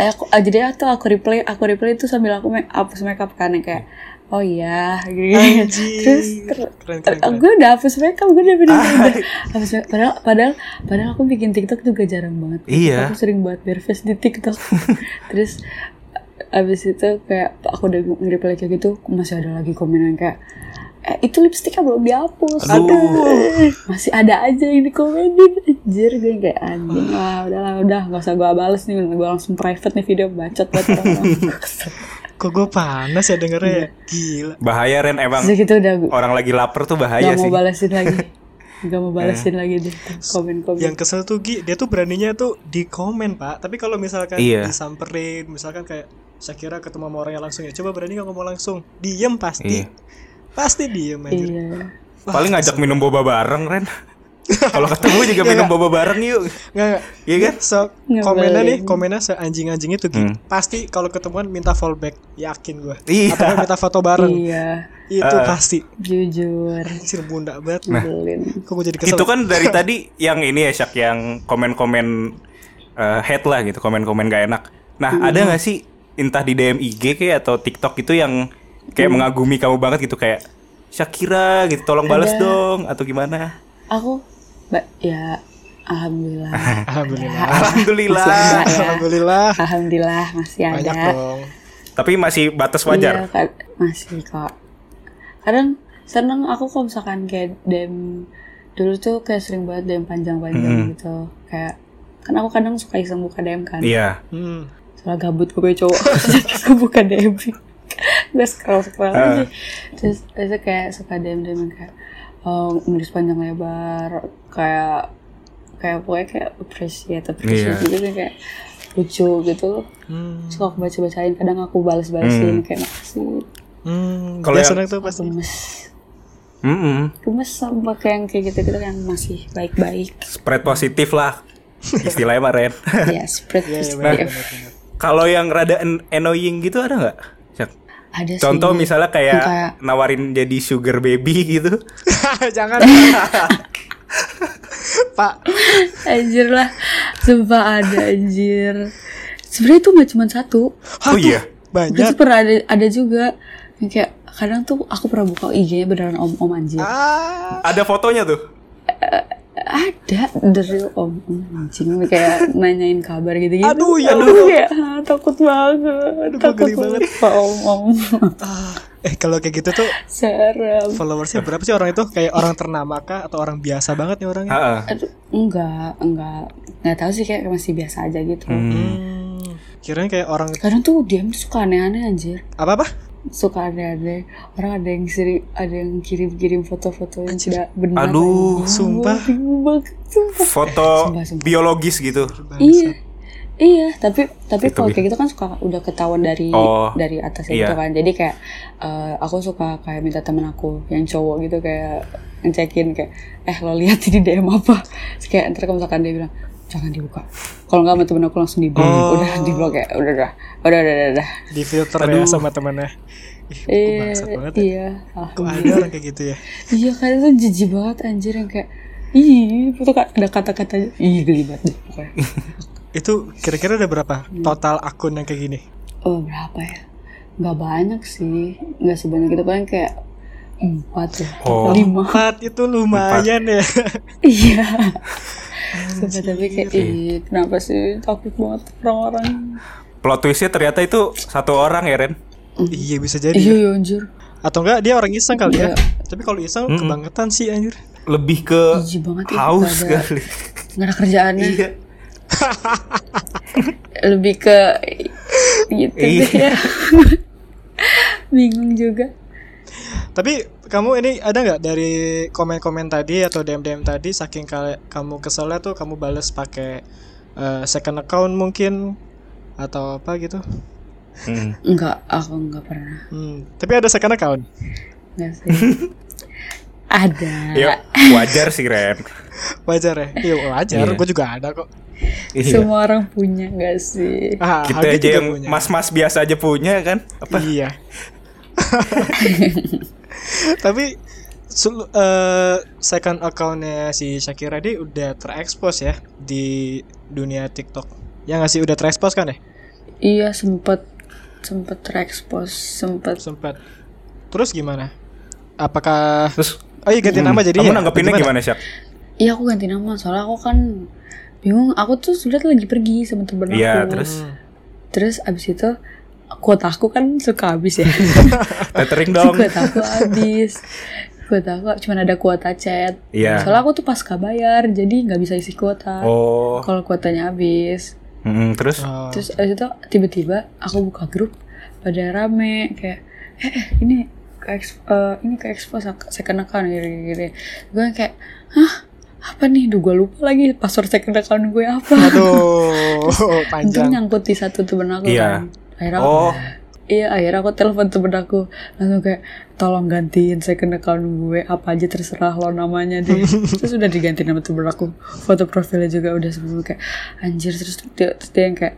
Speaker 3: eh, aku ah, jadi tuh aku replay, aku replay itu sambil aku make, hapus make up kan yang kayak oh iya gitu.
Speaker 1: Anjir.
Speaker 3: Terus ter-
Speaker 1: Keren, keren,
Speaker 3: eh,
Speaker 1: keren.
Speaker 3: gue udah hapus make up, gue udah bener
Speaker 2: Ah, iya.
Speaker 3: hapus make padahal padahal padahal aku bikin TikTok juga jarang banget.
Speaker 2: Iya.
Speaker 3: Aku sering buat bare face di TikTok. Terus abis itu kayak aku udah nge-reply kayak gitu masih ada lagi komen yang kayak eh, itu lipstiknya belum dihapus
Speaker 2: Aduh.
Speaker 3: masih ada aja yang dikomenin anjir gue kayak anjing lah udahlah udah gak usah gue bales nih gue langsung private nih video bacot banget
Speaker 1: Kok gue panas ya dengernya
Speaker 3: Iya.
Speaker 1: ya? Gila.
Speaker 2: Bahaya Ren emang
Speaker 3: terus gitu udah gue
Speaker 2: orang lagi lapar tuh bahaya
Speaker 3: gak mau
Speaker 2: Oh, iya sih. Eh.
Speaker 3: balesin lagi gak mau balesin lagi deh komen-komen
Speaker 1: Yang kesel tuh Gi, dia tuh beraninya tuh di komen, Pak. Tapi kalau misalkan
Speaker 2: Iya.
Speaker 1: disamperin, misalkan kayak Shakira ketemu sama orangnya langsung ya. Coba berani nggak ngomong langsung? Diem pasti.
Speaker 2: Iya.
Speaker 1: Pasti diem anjir.
Speaker 3: iya
Speaker 1: Wah,
Speaker 2: Paling ngajak minum boba bareng Ren. Kalau ketemu juga minum boba bareng yuk.
Speaker 1: Nggak, nggak.
Speaker 2: Iya kan?
Speaker 1: So,
Speaker 3: Nggak
Speaker 1: komennya
Speaker 3: boleh.
Speaker 1: nih, komennya seanjing-anjing itu Gi.
Speaker 2: Hmm.
Speaker 1: Pasti kalau ketemuan minta fallback, yakin gue.
Speaker 2: Iya.
Speaker 1: Atau nggak minta foto bareng.
Speaker 3: iya
Speaker 1: Itu
Speaker 2: Ah.
Speaker 1: pasti.
Speaker 3: jujur
Speaker 1: Anjir bunda banget.
Speaker 3: nyebelin
Speaker 1: Kok gue jadi kesel?
Speaker 2: Nah. Itu kan dari tadi yang ini ya Syak yang komen-komen eh, hate lah gitu, komen-komen gak enak. Nah, ada nggak sih entah di DM IG kayak atau TikTok itu yang kayak mengagumi kamu banget gitu kayak Shakira gitu, tolong balas
Speaker 3: Ada.
Speaker 2: dong atau gimana?
Speaker 3: aku ba- ya alhamdulillah
Speaker 1: Alhamdulillah.
Speaker 3: Ah,
Speaker 2: Alhamdulillah.
Speaker 3: Masih ada ya.
Speaker 1: Alhamdulillah.
Speaker 3: alhamdulillah masih ada
Speaker 1: Banyak dong.
Speaker 2: Tapi masih batas
Speaker 3: Iya,
Speaker 2: wajar.
Speaker 3: kad- masih kok. Kadang seneng aku kalau misalkan kayak DM dulu tuh kayak sering banget DM panjang-panjang gitu. Kayak kan aku kadang suka iseng buka DM kan.
Speaker 2: Iya.
Speaker 1: Hmm.
Speaker 3: Soalnya gabut gue punya cowok Jadi gue buka DM. gue scroll scroll
Speaker 2: Ah.
Speaker 3: aja. Terus itu kayak suka DM DM yang kayak oh, nulis panjang lebar kayak kayak pokoknya kayak appreciate appreciate
Speaker 2: Iya.
Speaker 3: gitu deh, kayak lucu gitu
Speaker 1: Hmm.
Speaker 3: suka aku baca bacain kadang aku balas balasin kayak makasih
Speaker 1: Hmm.
Speaker 2: Kalau
Speaker 1: Dia
Speaker 2: yang-
Speaker 1: seneng tuh pasti.
Speaker 3: gemes
Speaker 2: Mm-mm.
Speaker 3: gemes sama kayak yang kayak gitu gitu yang masih baik baik
Speaker 2: Spread positif lah. Istilahnya mah Ren.
Speaker 3: ya spread
Speaker 1: Iya, iya
Speaker 3: positive
Speaker 1: benar benar. benar.
Speaker 2: Kalau yang rada an- annoying gitu ada nggak? Cak.
Speaker 3: ada sih.
Speaker 2: Contoh misalnya kayak,
Speaker 3: Kayak-
Speaker 2: nawarin jadi sugar baby gitu.
Speaker 1: Jangan. Pak,
Speaker 3: anjir lah sumpah ada anjir sebenarnya itu nggak cuma satu
Speaker 2: Oh iya.
Speaker 3: itu
Speaker 1: Banyak.
Speaker 3: pernah ada ada juga yang kayak kadang tuh aku pernah buka IG-nya beneran om om anjir
Speaker 1: Ah.
Speaker 2: Ada fotonya tuh.
Speaker 3: ada the real om om anjing kayak nanyain kabar gitu gitu
Speaker 1: Aduh, ya Allah.
Speaker 3: aduh kayak ah, takut banget takut
Speaker 1: geli banget.
Speaker 3: banget pak om om
Speaker 1: Ah. Eh kalau kayak gitu tuh
Speaker 3: serem
Speaker 1: followersnya berapa sih orang itu? Kayak orang ternama kah atau orang biasa banget nih orangnya?
Speaker 2: Heeh.
Speaker 3: aduh enggak enggak nggak tahu sih kayak masih biasa aja gitu
Speaker 2: Hmm.
Speaker 1: Hmm. Kirain kayak orang
Speaker 3: kadang tuh dia suka aneh-aneh anjir
Speaker 1: apa apa?
Speaker 3: suka aneh-aneh orang ada yang seri, ada yang kirim-kirim foto-foto yang tidak benar
Speaker 2: Aduh,
Speaker 1: sumpah.
Speaker 3: Bingung banget, sumpah.
Speaker 2: Foto
Speaker 3: Sumpah, sumpah.
Speaker 2: biologis gitu.
Speaker 3: iya iya tapi tapi
Speaker 2: Itu
Speaker 3: kalau
Speaker 2: bi-
Speaker 3: kayak gitu kan suka udah ketahuan dari
Speaker 2: Oh,
Speaker 3: dari atas
Speaker 2: iya.
Speaker 3: itu kan jadi kayak eh, aku suka kayak minta temen aku yang cowok gitu kayak ngecekin kayak eh lo lihat ini DM apa Terus kayak ntar kalau misalkan dia bilang jangan dibuka kalau nggak sama temen aku langsung diblok
Speaker 1: Oh.
Speaker 3: udah diblok ya udah udah udah udah udah, udah.
Speaker 1: Di filter ya
Speaker 2: Aduh.
Speaker 1: sama temannya. Ih, aku
Speaker 3: Eh,
Speaker 1: bangsat banget ya.
Speaker 3: iya
Speaker 1: Kok ada
Speaker 3: alhamdulillah.
Speaker 1: orang kayak gitu ya?
Speaker 3: Iya kadang tuh jijik banget anjir yang kayak Ih, itu kan ada kata-kata Ih, geli banget deh pokoknya
Speaker 1: Itu kira-kira ada berapa
Speaker 3: Hmm.
Speaker 1: total akun yang kayak gini?
Speaker 3: Oh, berapa ya? Nggak banyak sih Nggak sebanyak itu Paling kayak Empat ya
Speaker 2: Oh.
Speaker 3: Lima
Speaker 1: Empat itu lumayan ya.
Speaker 3: Iya Sumpah tapi kayak Ih, kenapa sih Takut banget orang-orang
Speaker 2: Plot twistnya ternyata itu satu orang ya Ren.
Speaker 1: iya bisa jadi.
Speaker 3: Iya,
Speaker 1: ya.
Speaker 3: iya anjir
Speaker 1: Atau enggak dia orang iseng kali ya?
Speaker 3: Iya.
Speaker 1: Tapi kalau iseng kebangetan sih anjir.
Speaker 2: Lebih ke
Speaker 3: Jijik banget itu
Speaker 2: eh, haus
Speaker 3: pada-
Speaker 2: kali.
Speaker 3: Nggak ada kerjaannya
Speaker 2: Iya.
Speaker 3: Lebih ke Gitu
Speaker 2: Iya.
Speaker 3: deh ya Bingung juga
Speaker 1: Tapi kamu ini ada nggak dari komen-komen tadi atau DM-DM tadi saking kal- kamu keselnya tuh kamu bales pakai eh, second account mungkin atau apa gitu?
Speaker 2: Hmm.
Speaker 3: Enggak, aku nggak pernah
Speaker 1: Hmm, tapi ada second account.
Speaker 3: Nggak sih Ada
Speaker 2: Ya, wajar sih Ren.
Speaker 1: Wajar ya? Iya wajar,
Speaker 2: Iya.
Speaker 1: gue juga ada kok.
Speaker 2: Iya.
Speaker 3: Semua orang punya nggak sih?
Speaker 1: Ah,
Speaker 2: Kita
Speaker 1: Hagi
Speaker 2: aja
Speaker 1: juga
Speaker 2: yang
Speaker 1: punya.
Speaker 2: mas-mas biasa aja punya kan. Apa?
Speaker 1: Iya. tapi sul- eh, second accountnya si Shakira ini udah terekspos ya di dunia TikTok. Ya nggak sih udah terekspos kan ya?
Speaker 3: Iya sempet sempet terekspos sempet
Speaker 1: Sempat. Terus gimana? Apakah
Speaker 2: Terus
Speaker 1: Oh iya ganti
Speaker 2: Hmm,
Speaker 1: nama jadi
Speaker 2: Kamu nanggepinnya gimana, Syak?
Speaker 3: iya aku ganti nama soalnya aku kan bingung aku tuh sebenarnya lagi pergi sama temen
Speaker 2: Iya,
Speaker 3: aku
Speaker 2: terus
Speaker 3: terus abis itu kuota aku kan suka habis ya
Speaker 2: tethering dong.
Speaker 3: kuota aku habis kuota aku cuman ada kuota chat
Speaker 2: Iya.
Speaker 3: soalnya aku tuh pasca bayar jadi nggak bisa isi kuota
Speaker 2: Oh.
Speaker 3: kalau kuotanya habis
Speaker 2: Mm, terus
Speaker 1: Oh,
Speaker 3: Terus abis itu tiba-tiba aku buka grup pada rame kayak eh, eh ini ke eks- eh, ini ke expose second account gitu, gini-gini. Gue kayak hah apa nih? Duh gue lupa lagi password second account gue apa.
Speaker 1: Aduh,
Speaker 3: Untung
Speaker 1: panjang.
Speaker 3: nyangkut di satu temen aku
Speaker 2: Iya.
Speaker 3: kan. Akhirnya aku-
Speaker 2: oh,
Speaker 3: Iya akhirnya aku telepon temen aku langsung kayak tolong gantiin second account gue apa aja terserah lo namanya deh terus udah diganti nama temen aku foto profilnya juga udah sebelum kayak anjir terus dia, terus dia yang kayak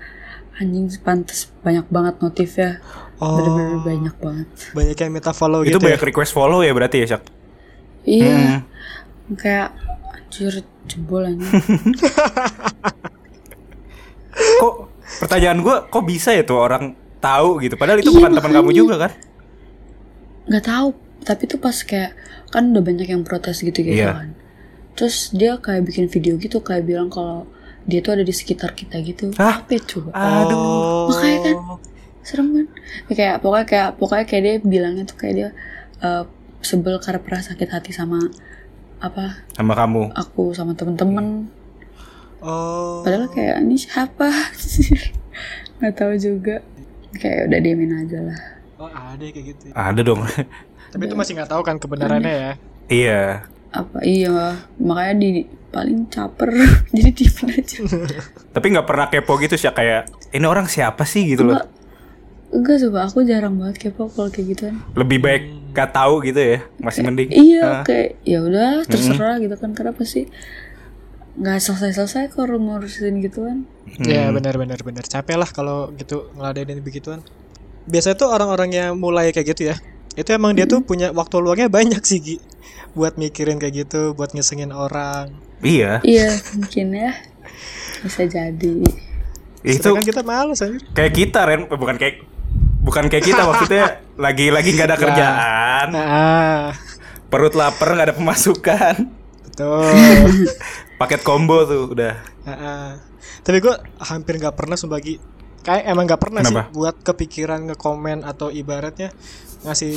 Speaker 3: anjing pantas banyak banget notif ya
Speaker 1: Oh.
Speaker 3: bener-bener banyak banget
Speaker 1: Banyak yang minta follow
Speaker 3: Oh,
Speaker 2: itu
Speaker 1: gitu. ya?
Speaker 2: banyak request follow ya berarti ya, Syak?
Speaker 3: iya kayak anjir jebol anjing
Speaker 2: Kok pertanyaan gua kok bisa ya tuh orang tahu gitu. Padahal itu
Speaker 3: Iya,
Speaker 2: bukan teman kamu
Speaker 3: makanya.
Speaker 2: juga kan?
Speaker 3: nggak tahu tapi tuh pas kayak kan udah banyak yang protes gitu gitu
Speaker 2: Iya.
Speaker 3: kan terus dia kayak bikin video gitu kayak bilang kalau dia tuh ada di sekitar kita gitu
Speaker 2: Hah?
Speaker 3: apa ya coba
Speaker 2: Aduh.
Speaker 1: Oh.
Speaker 3: Makanya kan. serem kan Ya kayak pokoknya kayak pokoknya kayak dia bilangnya tuh kayak dia eh, sebel karena pernah sakit hati sama apa
Speaker 2: Sama kamu.
Speaker 3: aku sama temen-temen
Speaker 1: Oh.
Speaker 3: padahal kayak ini siapa nggak tahu juga kayak udah diemin aja lah
Speaker 1: Oh, ada kayak gitu. ya.
Speaker 2: Ada dong.
Speaker 1: Tapi itu masih nggak tahu kan kebenarannya ya.
Speaker 2: iya.
Speaker 3: apa iya makanya di paling caper jadi diemin aja
Speaker 2: Tapi nggak pernah kepo gitu Syak kayak ini orang siapa sih gitu loh.
Speaker 3: Enggak. enggak coba aku jarang banget kepo kalau kayak gitu gituan
Speaker 2: Lebih baik gak tahu gitu ya. Masih mending.
Speaker 3: iya
Speaker 2: ah.
Speaker 3: kayak ya udah terserah gitu kan karena pasti nggak selesai-selesai gitu kalau ngurusin gituan
Speaker 2: Hmm.
Speaker 1: Ya benar benar benar capek lah kalau gitu ngeladenin begituan. biasanya tuh orang-orang yang mulai kayak gitu ya itu emang dia tuh
Speaker 3: Hmm.
Speaker 1: punya waktu luangnya banyak sih Gi buat mikirin kayak gitu buat ngesengin orang
Speaker 2: Iya,
Speaker 3: Iya, mungkin ya. Bisa jadi.
Speaker 2: itu
Speaker 1: sedangkan kita males aja
Speaker 2: kayak kita Ren, Eh, bukan kayak bukan kayak kita maksudnya lagi-lagi
Speaker 1: Iya.
Speaker 2: nggak ada kerjaan,
Speaker 1: nah
Speaker 2: perut lapar nggak ada pemasukan,
Speaker 1: betul
Speaker 2: paket combo tuh udah.
Speaker 1: Heeh. Tapi gue hampir nggak pernah sebagi kayak emang nggak pernah
Speaker 2: Kenapa?
Speaker 1: sih buat kepikiran ngekomen atau ibaratnya ngasih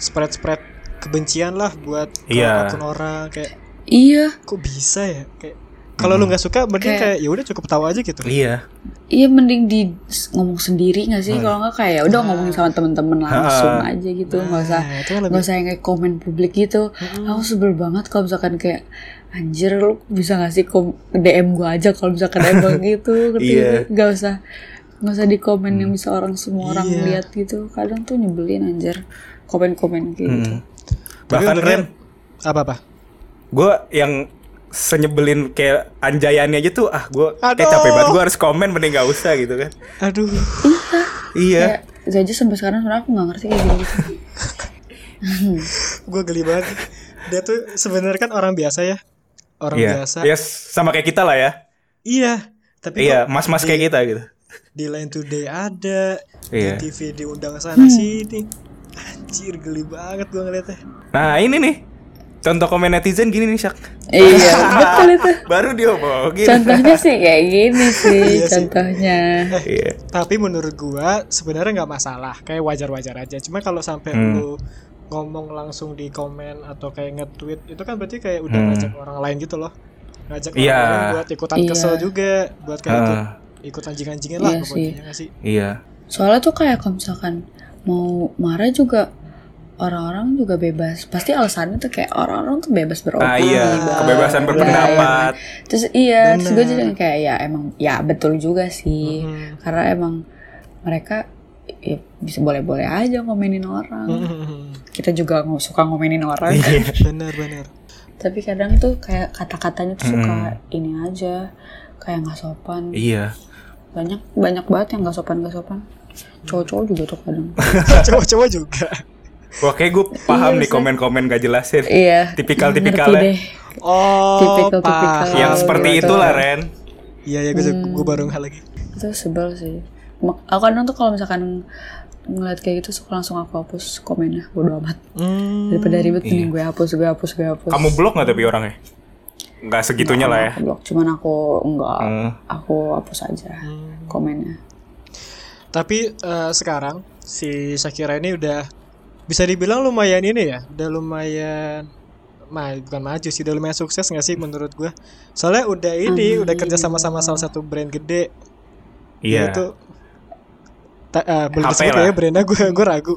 Speaker 1: spread spread kebencian lah buat ke
Speaker 2: Iya.
Speaker 1: akun orang kayak
Speaker 3: Iya,
Speaker 1: kok bisa ya kayak kalau lu nggak suka mending
Speaker 3: Kayak-
Speaker 1: kayak ya udah cukup tahu aja gitu.
Speaker 2: Iya.
Speaker 3: iya mending di s- ngomong sendiri nggak
Speaker 1: Nah.
Speaker 3: sih? Kalau nggak kayak udah ngomongin sama temen-temen langsung
Speaker 2: Ah.
Speaker 3: aja gitu, nggak usah
Speaker 1: Nah, itu kan lebih
Speaker 3: nggak usah yang kayak komen publik gitu. Aku sebel banget kalau misalkan kayak anjir lu bisa ngasih kom DM gua aja kalau misalkan emang gitu, ngerti
Speaker 2: Iya.
Speaker 3: nggak? Nggak usah nggak usah di komen yang bisa orang semua orang
Speaker 1: Hmm. Iya.
Speaker 3: lihat gitu. Kadang tuh nyebelin anjir komen-komen kayak gitu.
Speaker 2: Hmm. Bahkan
Speaker 1: untungnya-
Speaker 2: Ren,
Speaker 1: apa apa.
Speaker 2: gue yang senyebelin kayak anjayannya aja tuh ah gue kayak
Speaker 1: Aduh.
Speaker 2: capek banget gue harus komen mending nggak usah gitu kan
Speaker 1: Aduh, Ya.
Speaker 2: iya
Speaker 3: Kayak Zaja sampai sekarang sebenarnya aku nggak ngerti kayak gitu.
Speaker 1: gue geli banget. Dia tuh sebenarnya kan orang biasa ya, orang
Speaker 2: iya
Speaker 1: biasa.
Speaker 2: Ya, sama kayak kita lah ya
Speaker 1: Iya, tapi kok
Speaker 2: iya mas mas kayak kita gitu
Speaker 1: di Line Today ada,
Speaker 2: Iya.
Speaker 1: di TV diundang sana
Speaker 3: Hmm.
Speaker 1: sini. Anjir geli banget gua ngeliatnya.
Speaker 2: nah ini nih contoh komen netizen gini nih Syak
Speaker 3: iya betul itu.
Speaker 2: baru diomongin
Speaker 3: Contohnya sih kayak gini sih
Speaker 1: Iya sih.
Speaker 3: contohnya.
Speaker 2: iya
Speaker 1: Tapi menurut gua sebenarnya nggak masalah, kayak wajar-wajar aja. Cuma kalau sampai
Speaker 2: Hmm.
Speaker 1: lu ngomong langsung di komen atau kayak nge-tweet itu kan berarti kayak udah
Speaker 2: Hmm.
Speaker 1: ngajak orang lain gitu loh. Ngajak
Speaker 2: Iya.
Speaker 1: orang lain buat ikutan
Speaker 3: Iya.
Speaker 1: kesel juga, buat kayak
Speaker 2: Ah,
Speaker 1: ikut, ikut anjing-anjingin lah
Speaker 3: Iya
Speaker 1: pokoknya
Speaker 3: sih.
Speaker 1: ya nggak sih.
Speaker 2: iya
Speaker 3: Soalnya tuh kayak kalau misalkan mau marah juga orang-orang juga bebas. Pasti alasannya tuh kayak orang-orang tuh bebas
Speaker 2: ah
Speaker 3: beropini.
Speaker 2: iya
Speaker 3: bebas.
Speaker 2: kebebasan
Speaker 3: Udah,
Speaker 2: berpendapat
Speaker 3: ya kan? Terus iya, terus gue
Speaker 1: Bener.
Speaker 3: jadi kayak ya emang ya betul juga sih.
Speaker 1: Mhm.
Speaker 3: Karena emang mereka ya, bisa boleh-boleh aja ngomenin orang.
Speaker 1: Mhm.
Speaker 3: Kita juga nggak suka ngomenin orang.
Speaker 2: Iya.
Speaker 1: bener bener.
Speaker 3: tapi kadang tuh kayak kata-katanya tuh suka
Speaker 2: Mm.
Speaker 3: ini aja kayak nggak sopan
Speaker 2: iya
Speaker 3: banyak banyak banget yang nggak sopan nggak sopan cowok-cowok juga tuh kadang
Speaker 1: Cowok-cowok juga.
Speaker 2: wah kayak gue paham
Speaker 3: Iya,
Speaker 2: nih
Speaker 3: Syak.
Speaker 2: komen-komen gak jelasin
Speaker 3: iya ngerti
Speaker 2: tipikal-tipikalnya
Speaker 3: deh
Speaker 1: Oh,
Speaker 3: Tipikal-tipikal.
Speaker 1: paham.
Speaker 2: yang seperti
Speaker 3: Gitu.
Speaker 2: itulah Ren
Speaker 1: Iya ya gue gue baru ngeh lagi.
Speaker 3: itu sebel sih Mak- aku kadang tuh kalau misalkan ngeliat kayak gitu suka langsung aku hapus komennya bodo amat
Speaker 1: Hmm.
Speaker 3: daripada ribet
Speaker 2: Iya.
Speaker 3: mending gue hapus gue hapus gue hapus
Speaker 2: kamu blok nggak tapi orangnya nggak segitunya lah ya
Speaker 3: Aku blok cuman aku enggak
Speaker 2: Hmm.
Speaker 3: aku hapus aja komennya
Speaker 1: Tapi eh, sekarang si Shakira ini udah bisa dibilang lumayan ini ya, udah lumayan ma bukan maju sih, udah lumayan sukses nggak sih menurut gua Soalnya udah ini, udah kerja sama-sama salah satu brand gede.
Speaker 2: iya
Speaker 1: Itu ta- eh, boleh
Speaker 2: HP
Speaker 1: disebut
Speaker 2: lah.
Speaker 1: ya brandnya gue gue ragu.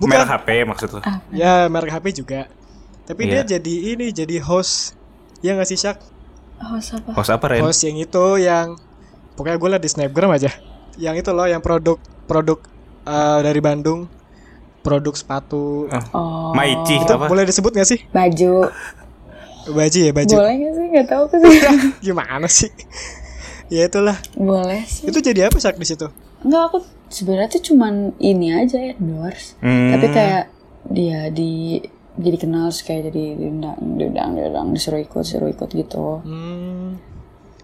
Speaker 1: Bukan.
Speaker 2: merek HP maksud lo
Speaker 3: Ah.
Speaker 1: Ya merek HP juga. Tapi
Speaker 2: Iya.
Speaker 1: dia jadi ini, jadi host. Ya nggak sih Shak?
Speaker 3: oh siapa
Speaker 2: host apa Ren?
Speaker 1: Host yang itu yang pokoknya gue liat di snapgram aja. Yang itu loh yang produk produk eh, dari Bandung, produk sepatu.
Speaker 2: Ah,
Speaker 3: oh
Speaker 2: Maici
Speaker 1: itu
Speaker 2: apa?
Speaker 1: boleh disebut gak sih?
Speaker 3: baju
Speaker 1: Baji ya baju.
Speaker 3: boleh nggak sih nggak tahu aku sih
Speaker 1: Gimana sih? ya itulah.
Speaker 3: boleh sih
Speaker 1: Itu jadi apa sak di situ?
Speaker 3: Enggak, aku sebenarnya tuh cuman ini aja ya, endorse.
Speaker 2: Hmm.
Speaker 3: Tapi kayak dia di jadi kenal terus kayak jadi diundang, diundang, diundang, disuruh ikut, disuruh ikut gitu.
Speaker 1: Hmm,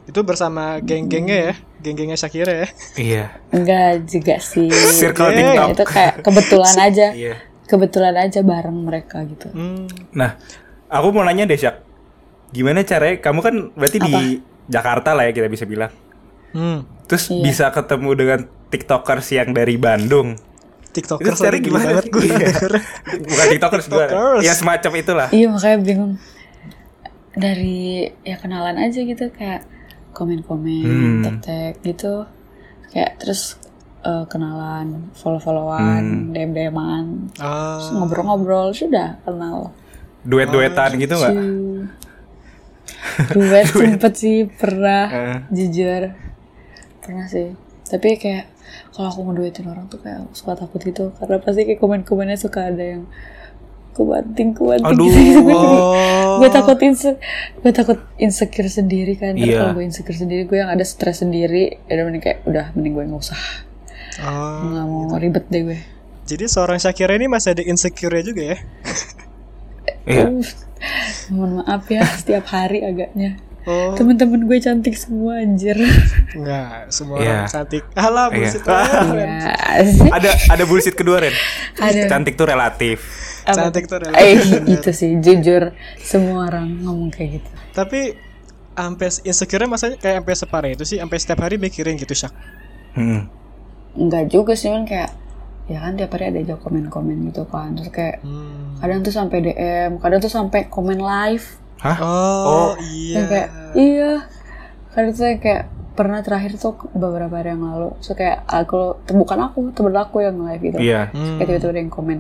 Speaker 1: itu bersama geng-gengnya ya, geng-gengnya Shakira ya.
Speaker 2: Iya.
Speaker 3: Enggak juga sih.
Speaker 2: Circle
Speaker 1: Iya,
Speaker 2: TikTok.
Speaker 3: itu kayak kebetulan aja.
Speaker 2: Iya.
Speaker 3: Kebetulan aja bareng mereka gitu.
Speaker 1: Hmm,
Speaker 2: Nah, aku mau nanya deh, Syak. Gimana caranya? Kamu kan berarti di Jakarta lah ya kita bisa bilang.
Speaker 1: hmm.
Speaker 2: Terus
Speaker 3: Iya.
Speaker 2: bisa ketemu dengan TikTokers yang dari Bandung. Itu
Speaker 1: Tiktokers
Speaker 2: caranya
Speaker 1: lagi
Speaker 2: gimana?
Speaker 1: banget gue.
Speaker 2: Iya. Bukan TikTokers, gimana?
Speaker 1: TikTokers.
Speaker 2: Ya semacam itulah.
Speaker 3: Iya makanya bingung. Dari ya kenalan aja gitu kayak
Speaker 2: Hmm.
Speaker 3: komen-komen, tag-tag gitu. Kayak terus eh,
Speaker 2: Hmm.
Speaker 3: kenalan, follow-followan, DM-DM-an,
Speaker 1: Ah,
Speaker 3: Terus ngobrol-ngobrol sudah kenal
Speaker 2: Duet-duetan gitu nggak?
Speaker 3: Cu. duet sempet sih pernah
Speaker 2: Eh,
Speaker 3: jujur pernah sih tapi kayak kalau aku ngeduetin orang tuh kayak aku suka takut gitu karena pasti kayak komen-komennya suka ada yang kubanting kubanting
Speaker 2: Aduh,
Speaker 3: gitu
Speaker 1: oh.
Speaker 3: gue takut inse gue takut insecure sendiri kan
Speaker 2: Iya.
Speaker 3: Ntar ya kalau gue insecure sendiri gue yang ada stres sendiri udah mending kayak udah mending gue nggak usah
Speaker 1: Oh,
Speaker 3: nggak
Speaker 2: Iya.
Speaker 3: mau ribet deh gue
Speaker 1: jadi seorang Shakira ini masih ada insecure juga ya?
Speaker 2: Iya.
Speaker 3: Uh, mohon maaf ya setiap hari agaknya
Speaker 1: Oh,
Speaker 3: temen-temen gue cantik semua anjir
Speaker 1: enggak, semua
Speaker 2: Iya.
Speaker 1: orang cantik. Alah,
Speaker 2: Iya.
Speaker 1: bullshit banget.
Speaker 3: ya asik.
Speaker 2: Ada ada bullshit kedua Ren.
Speaker 3: Ada.
Speaker 2: Iya. Cantik tuh relatif.
Speaker 3: Apa
Speaker 1: Cantik
Speaker 3: tuh?
Speaker 1: tuh relatif.
Speaker 3: eh itu sih jujur semua orang ngomong kayak gitu
Speaker 1: Tapi sampai insecure masanya kayak sampai separah itu sih, sampai setiap hari mikirin gitu, Shak.
Speaker 2: Hmm.
Speaker 3: nggak juga sih cuman kayak ya kan tiap hari ada aja komen-komen gitu kan terus kayak
Speaker 1: Hmm.
Speaker 3: kadang tuh sampai DM kadang tuh sampai komen live
Speaker 2: Hah?
Speaker 1: Oh,
Speaker 2: Oh.
Speaker 1: iya.
Speaker 3: Yang kayak iya kadang tuh yang kayak pernah terakhir tuh beberapa hari yang lalu so kayak aku tuh bukan aku temen aku yang live gitu
Speaker 2: Iya.
Speaker 1: Hmm.
Speaker 3: Kayak tiba-tiba ada yang komen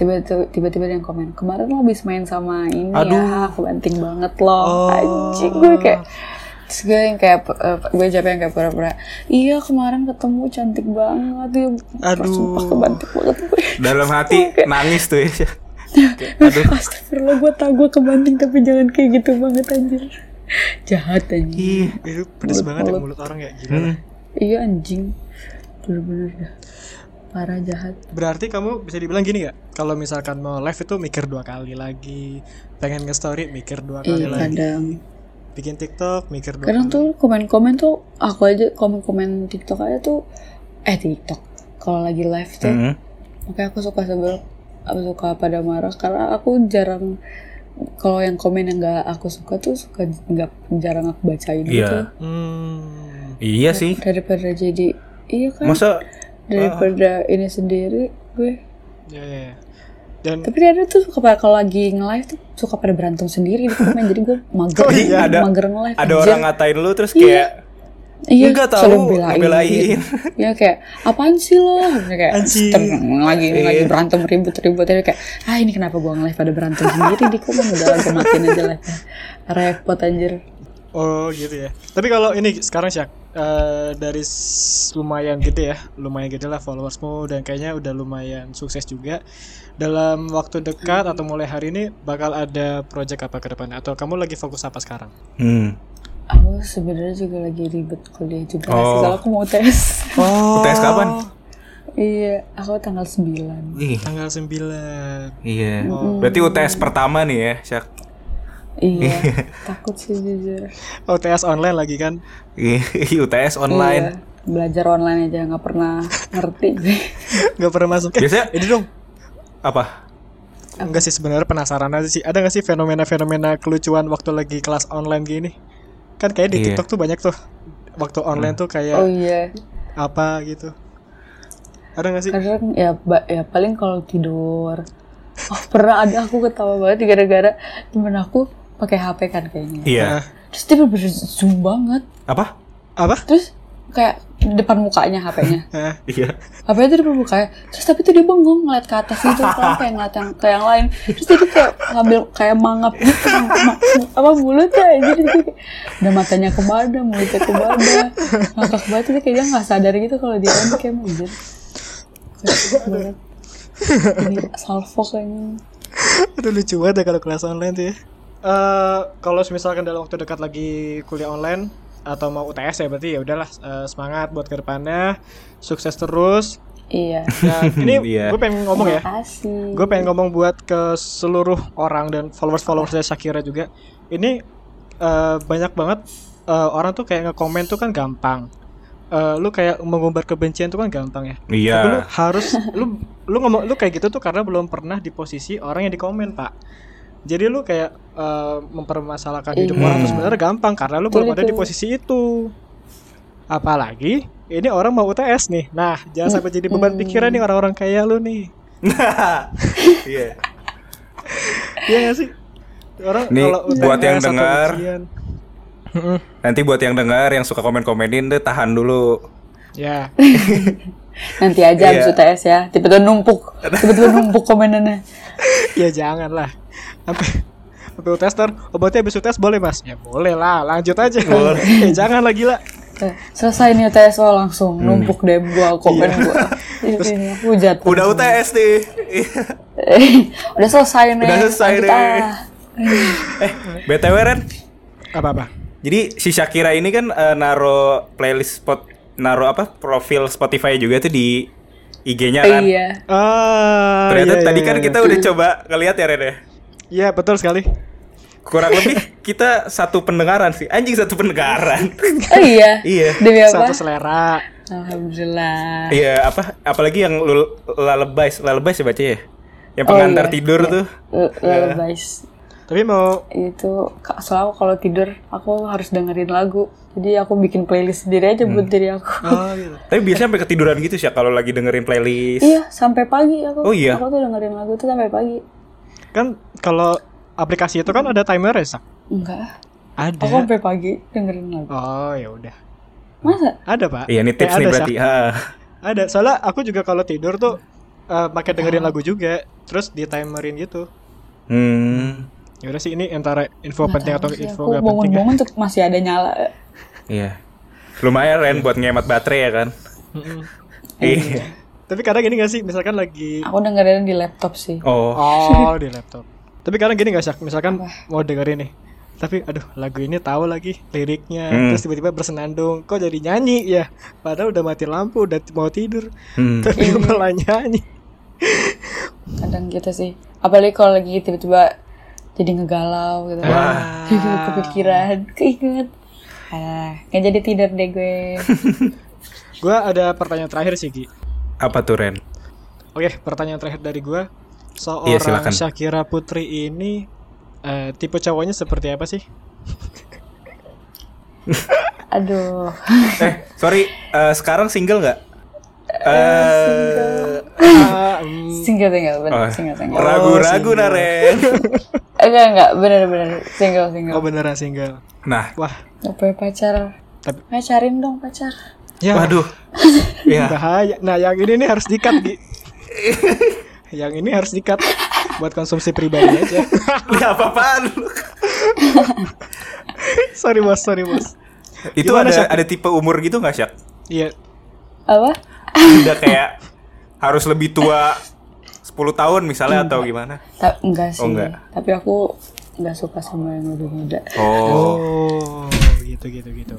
Speaker 3: tiba-tiba tiba-tiba ada yang komen kemarin lo habis main sama ini ya
Speaker 2: Aduh.
Speaker 3: aku banting banget lo
Speaker 1: Oh.
Speaker 3: anjing gue kayak terus gue yang kayak eh, gue jawab yang kayak pura-pura iya kemarin ketemu cantik banget ya
Speaker 1: Aduh.
Speaker 3: sumpah kebanting banget gue
Speaker 2: Dalam hati nangis tuh ya. Aduh.
Speaker 3: astagfirullah gue tau gue kebanting tapi jangan kayak gitu banget anjir jahat
Speaker 2: Ih.
Speaker 3: anjir
Speaker 1: Itu pedes
Speaker 3: Mulut-
Speaker 1: banget ya
Speaker 3: mulut.
Speaker 1: mulut orang ya gila.
Speaker 2: Iya. Hmm.
Speaker 3: Iya anjing Bener-bener dah Parah jahat
Speaker 1: Berarti kamu bisa dibilang gini gak? Kalau misalkan mau live itu mikir dua kali lagi, pengen nge-story mikir dua kali
Speaker 3: Iya
Speaker 1: lagi,
Speaker 3: kadang
Speaker 1: bikin TikTok mikir dua
Speaker 3: Kadang
Speaker 1: kali.
Speaker 3: tuh komen-komen tuh Aku aja komen-komen TikTok aja tuh Eh TikTok Kalau lagi live tuh
Speaker 2: Hmm.
Speaker 3: Makanya aku suka sebel Aku suka pada marah Karena aku jarang kalau yang komen yang gak aku suka tuh suka nggak jarang aku bacain gitu
Speaker 2: Iya.
Speaker 1: Hmm.
Speaker 2: Iya sih.
Speaker 3: daripada jadi iya kan
Speaker 2: Masa
Speaker 3: daripada ini sendiri gue
Speaker 1: Ya, ya, ya. Dan
Speaker 3: Tapi dia ada tuh suka pada- kalau lagi nge-live tuh suka pada berantem sendiri di komen. Jadi gue mager,
Speaker 1: Oh iya,
Speaker 2: ada-
Speaker 3: mager nge-live.
Speaker 2: ada
Speaker 3: anjir.
Speaker 2: orang ngatain lu terus kayak
Speaker 3: iya,
Speaker 2: nggak tahu,
Speaker 3: selalu belain.
Speaker 2: ngebelain.
Speaker 3: Iya kayak, apaan sih lo? Dia kayak,
Speaker 1: Anjir.
Speaker 3: tenang lagi,
Speaker 2: Iya.
Speaker 3: lagi berantem ribut-ribut. Dia kayak, ah ini kenapa gue nge-live pada berantem sendiri di komen. Udah lah, gue matiin aja live Repot anjir.
Speaker 1: Oh gitu ya. Tapi kalau ini sekarang sih eh, dari s- lumayan gitu ya, lumayan gede lah followersmu dan kayaknya udah lumayan sukses juga. Dalam waktu dekat atau mulai hari ini bakal ada project apa ke depannya? Atau kamu lagi fokus apa sekarang?
Speaker 2: hmm.
Speaker 3: Aku sebenarnya juga lagi ribet kuliah juga.
Speaker 2: Oh.
Speaker 3: Soalnya aku mau tes.
Speaker 1: Oh.
Speaker 2: UTS kapan?
Speaker 3: iya, aku tanggal 9.
Speaker 2: Ih,
Speaker 1: Tanggal 9
Speaker 2: iya. Berarti UTS pertama nih ya, Syak.
Speaker 3: Iya, takut sih jujur.
Speaker 1: UTS Oh, online lagi kan?
Speaker 2: Ih, UTS online.
Speaker 3: Iya, belajar online aja nggak pernah ngerti gue.
Speaker 1: Gak pernah masuk. Eh,
Speaker 2: Biasanya
Speaker 1: ini dong.
Speaker 2: apa?
Speaker 1: Enggak sih sebenarnya penasaran aja sih. Ada nggak sih fenomena-fenomena kelucuan waktu lagi kelas online gini? Kan kayak di
Speaker 2: Iya.
Speaker 1: TikTok tuh banyak tuh. Waktu online tuh kayak
Speaker 3: Oh iya,
Speaker 1: apa gitu ada nggak sih
Speaker 3: kadang ya, ba- ya paling kalau tidur. Oh pernah ada aku ketawa banget gara-gara temen aku pakai HP kan kayaknya.
Speaker 1: Nah,
Speaker 2: Iya.
Speaker 3: Terus dia bener zoom banget.
Speaker 2: Apa?
Speaker 1: apa
Speaker 3: Terus kayak depan mukanya HP-nya.
Speaker 1: Nah,
Speaker 2: Iya.
Speaker 3: HP-nya tuh depan mukanya. ya? Terus tapi tuh dia bengong ngeliat ke atas gitu, pelan kayak ngeliat yang ke yang lain. Terus jadi kayak ngambil kayak mangap gitu, ma- apa mulutnya aja jadi dia kayak, udah matanya ke mana, mulutnya ke mana. Ngakak banget tuh kayak dia nggak sadar gitu kalau dia kan kayak anjir. Kocak banget. Ini salvo kayaknya.
Speaker 1: aduh lucu banget ya kalau kelas online tuh ya Eh, kalau misalkan dalam waktu dekat lagi kuliah online atau mau UTS ya berarti ya udahlah eh, semangat buat ke depannya sukses terus
Speaker 3: Iya.
Speaker 1: dan ini
Speaker 2: Iya.
Speaker 1: gue pengen ngomong ya
Speaker 3: Makasih.
Speaker 1: gue pengen ngomong buat ke seluruh orang dan followers followers dari Shakira juga ini eh, banyak banget eh, orang tuh kayak ngekomen tuh kan gampang Eh, lu kayak mengumbar kebencian tuh kan gampang ya
Speaker 2: Iya.
Speaker 1: Tapi lu harus lu lu ngomong lu kayak gitu tuh karena belum pernah di posisi orang yang dikomen, Pak. Jadi lu kayak eh, mempermasalahkan hidup
Speaker 3: Iya.
Speaker 1: orang
Speaker 2: Hmm.
Speaker 1: itu sebenarnya gampang karena lu
Speaker 3: Betul
Speaker 1: belum ada di
Speaker 3: itu.
Speaker 1: posisi itu. Apalagi ini orang mau UTS nih. Nah, jangan sampai jadi
Speaker 3: Hmm.
Speaker 1: beban pikiran nih orang-orang kaya lu nih.
Speaker 2: Iya.
Speaker 1: Iya gak sih? Orang
Speaker 2: Nih,
Speaker 1: kalau UTS
Speaker 2: buat yang
Speaker 1: atau
Speaker 2: dengar.
Speaker 1: ujian. Mm-mm.
Speaker 2: Nanti buat yang dengar yang suka komen-komenin deh tahan dulu.
Speaker 1: Ya,
Speaker 3: Nanti aja habis
Speaker 2: Iya.
Speaker 3: UTS ya. Tiba-tiba numpuk. Tiba-tiba numpuk komenannya.
Speaker 1: ya jangan lah. Sampai sampai UTS ntar obatnya habis UTS boleh mas? Ya boleh lah, lanjut aja. ya jangan lah gila.
Speaker 3: Eh, selesai nih UTS oh, langsung numpuk DM gua komen gua Terus, hujat
Speaker 2: Iya.
Speaker 3: Eh,
Speaker 2: Udah UTS nih.
Speaker 3: udah selesai nih
Speaker 2: Udah selesai
Speaker 3: lanjut
Speaker 2: nih.
Speaker 3: ah.
Speaker 2: eh, BTW Ren.
Speaker 1: Apa-apa?
Speaker 2: Jadi si Shakira ini kan eh, naro playlist spot naruh apa profil Spotify juga tuh di IG-nya
Speaker 3: Eh,
Speaker 2: kan.
Speaker 3: iya
Speaker 1: Ah,
Speaker 2: Ternyata
Speaker 1: iya,
Speaker 2: tadi
Speaker 1: iya,
Speaker 2: kan
Speaker 1: iya.
Speaker 2: kita udah coba ngeliat ya Ren ya.
Speaker 1: Iya, betul sekali.
Speaker 2: Kurang lebih kita satu pendengaran sih. Anjing satu pendengaran.
Speaker 3: oh iya
Speaker 2: Iya.
Speaker 3: demi apa
Speaker 1: Satu selera.
Speaker 3: alhamdulillah
Speaker 2: Iya, apa apalagi yang lu lalebais, lalebais ya baca ya. Yang pengantar
Speaker 3: iya,
Speaker 2: tidur
Speaker 3: iya.
Speaker 2: tuh.
Speaker 3: L- lullabies
Speaker 1: Tapi mau
Speaker 3: itu ka- soalnya kalau tidur aku harus dengerin lagu jadi aku bikin playlist sendiri aja
Speaker 2: Hmm.
Speaker 3: buat diri aku
Speaker 1: oh, gitu.
Speaker 2: Tapi biasanya sampai ketiduran gitu sih ya kalau lagi dengerin playlist.
Speaker 3: iya sampai pagi
Speaker 2: Oh,
Speaker 3: aku
Speaker 2: iya.
Speaker 3: aku tuh dengerin lagu tuh sampai pagi
Speaker 1: Kan kalau aplikasi itu kan ada timer ya, Sak?
Speaker 3: enggak aku
Speaker 1: Ada.
Speaker 3: sampai pagi dengerin lagu
Speaker 1: Oh, ya udah.
Speaker 3: masa
Speaker 1: Ada, Pak.
Speaker 2: Iya, ini
Speaker 1: Eh,
Speaker 2: tips nih
Speaker 1: ada,
Speaker 2: berarti.
Speaker 1: Sak.
Speaker 2: Ha.
Speaker 1: Ada. Soalnya aku juga kalau tidur tuh eh pakai dengerin
Speaker 3: Ah.
Speaker 1: lagu juga, terus di timerin gitu.
Speaker 2: Hmm.
Speaker 1: Ya udah sih ini antara info
Speaker 3: Nggak
Speaker 1: penting
Speaker 3: tahu
Speaker 1: atau
Speaker 3: sih,
Speaker 1: info
Speaker 3: Nah, iya,
Speaker 1: gak
Speaker 3: aku
Speaker 1: penting. ya.
Speaker 3: bangun-bangun tuh masih ada nyala
Speaker 2: Iya. Lumayan Ren buat ngehemat baterai ya kan.
Speaker 1: Mm-mm.
Speaker 2: Iya.
Speaker 1: ya. Tapi kadang gini gak sih, misalkan lagi
Speaker 3: aku dengerin di laptop sih
Speaker 2: Oh.
Speaker 1: Oh di laptop. Tapi kadang gini gak sih, misalkan mau dengerin nih, tapi aduh lagu ini tahu lagi liriknya,
Speaker 2: Hmm.
Speaker 1: terus tiba-tiba bersenandung, kok jadi nyanyi ya? Padahal udah mati lampu, udah t- mau tidur,
Speaker 2: Hmm.
Speaker 1: tapi malah nyanyi.
Speaker 3: kadang gitu sih apalagi kalau lagi tiba-tiba jadi ngegalau gitu
Speaker 2: Wah.
Speaker 3: jadi kepikiran keinget ah nggak jadi tidur deh gue
Speaker 1: Gua ada pertanyaan terakhir sih Ki.
Speaker 2: Apa tuh Ren?
Speaker 1: Oke, pertanyaan terakhir dari gua. Seorang
Speaker 2: Iya, silakan.
Speaker 1: Shakira Putri ini eh, tipe cowoknya seperti apa sih?
Speaker 3: aduh
Speaker 2: Eh, sorry, eh, sekarang single nggak? Eh,
Speaker 1: Ah, mm,
Speaker 3: single single bener
Speaker 2: oh,
Speaker 3: single single
Speaker 2: ragu-ragu nah, Ren.
Speaker 3: enggak enggak bener bener single single
Speaker 1: oh beneran single.
Speaker 2: Nah,
Speaker 1: Wah,
Speaker 3: nggak punya pacar
Speaker 1: Tapi-
Speaker 3: pacarin dong pacar
Speaker 1: ya
Speaker 2: waduh. Iya.
Speaker 1: bahaya. Nah, yang ini nih harus dikat Ki. yang ini harus dikat buat konsumsi pribadi aja.
Speaker 2: Ini apa-apaan?
Speaker 1: sorry bos, sorry bos.
Speaker 2: Itu
Speaker 1: Gimana,
Speaker 2: ada
Speaker 1: Syak?
Speaker 2: ada tipe umur gitu nggak, Syak?
Speaker 1: Iya,
Speaker 3: apa
Speaker 2: Udah kayak harus lebih tua 10 tahun misalnya atau gimana?
Speaker 3: Ta- enggak sih
Speaker 2: Oh, enggak.
Speaker 3: tapi aku nggak suka sama yang lebih muda
Speaker 2: Oh.
Speaker 1: Oh, gitu gitu gitu.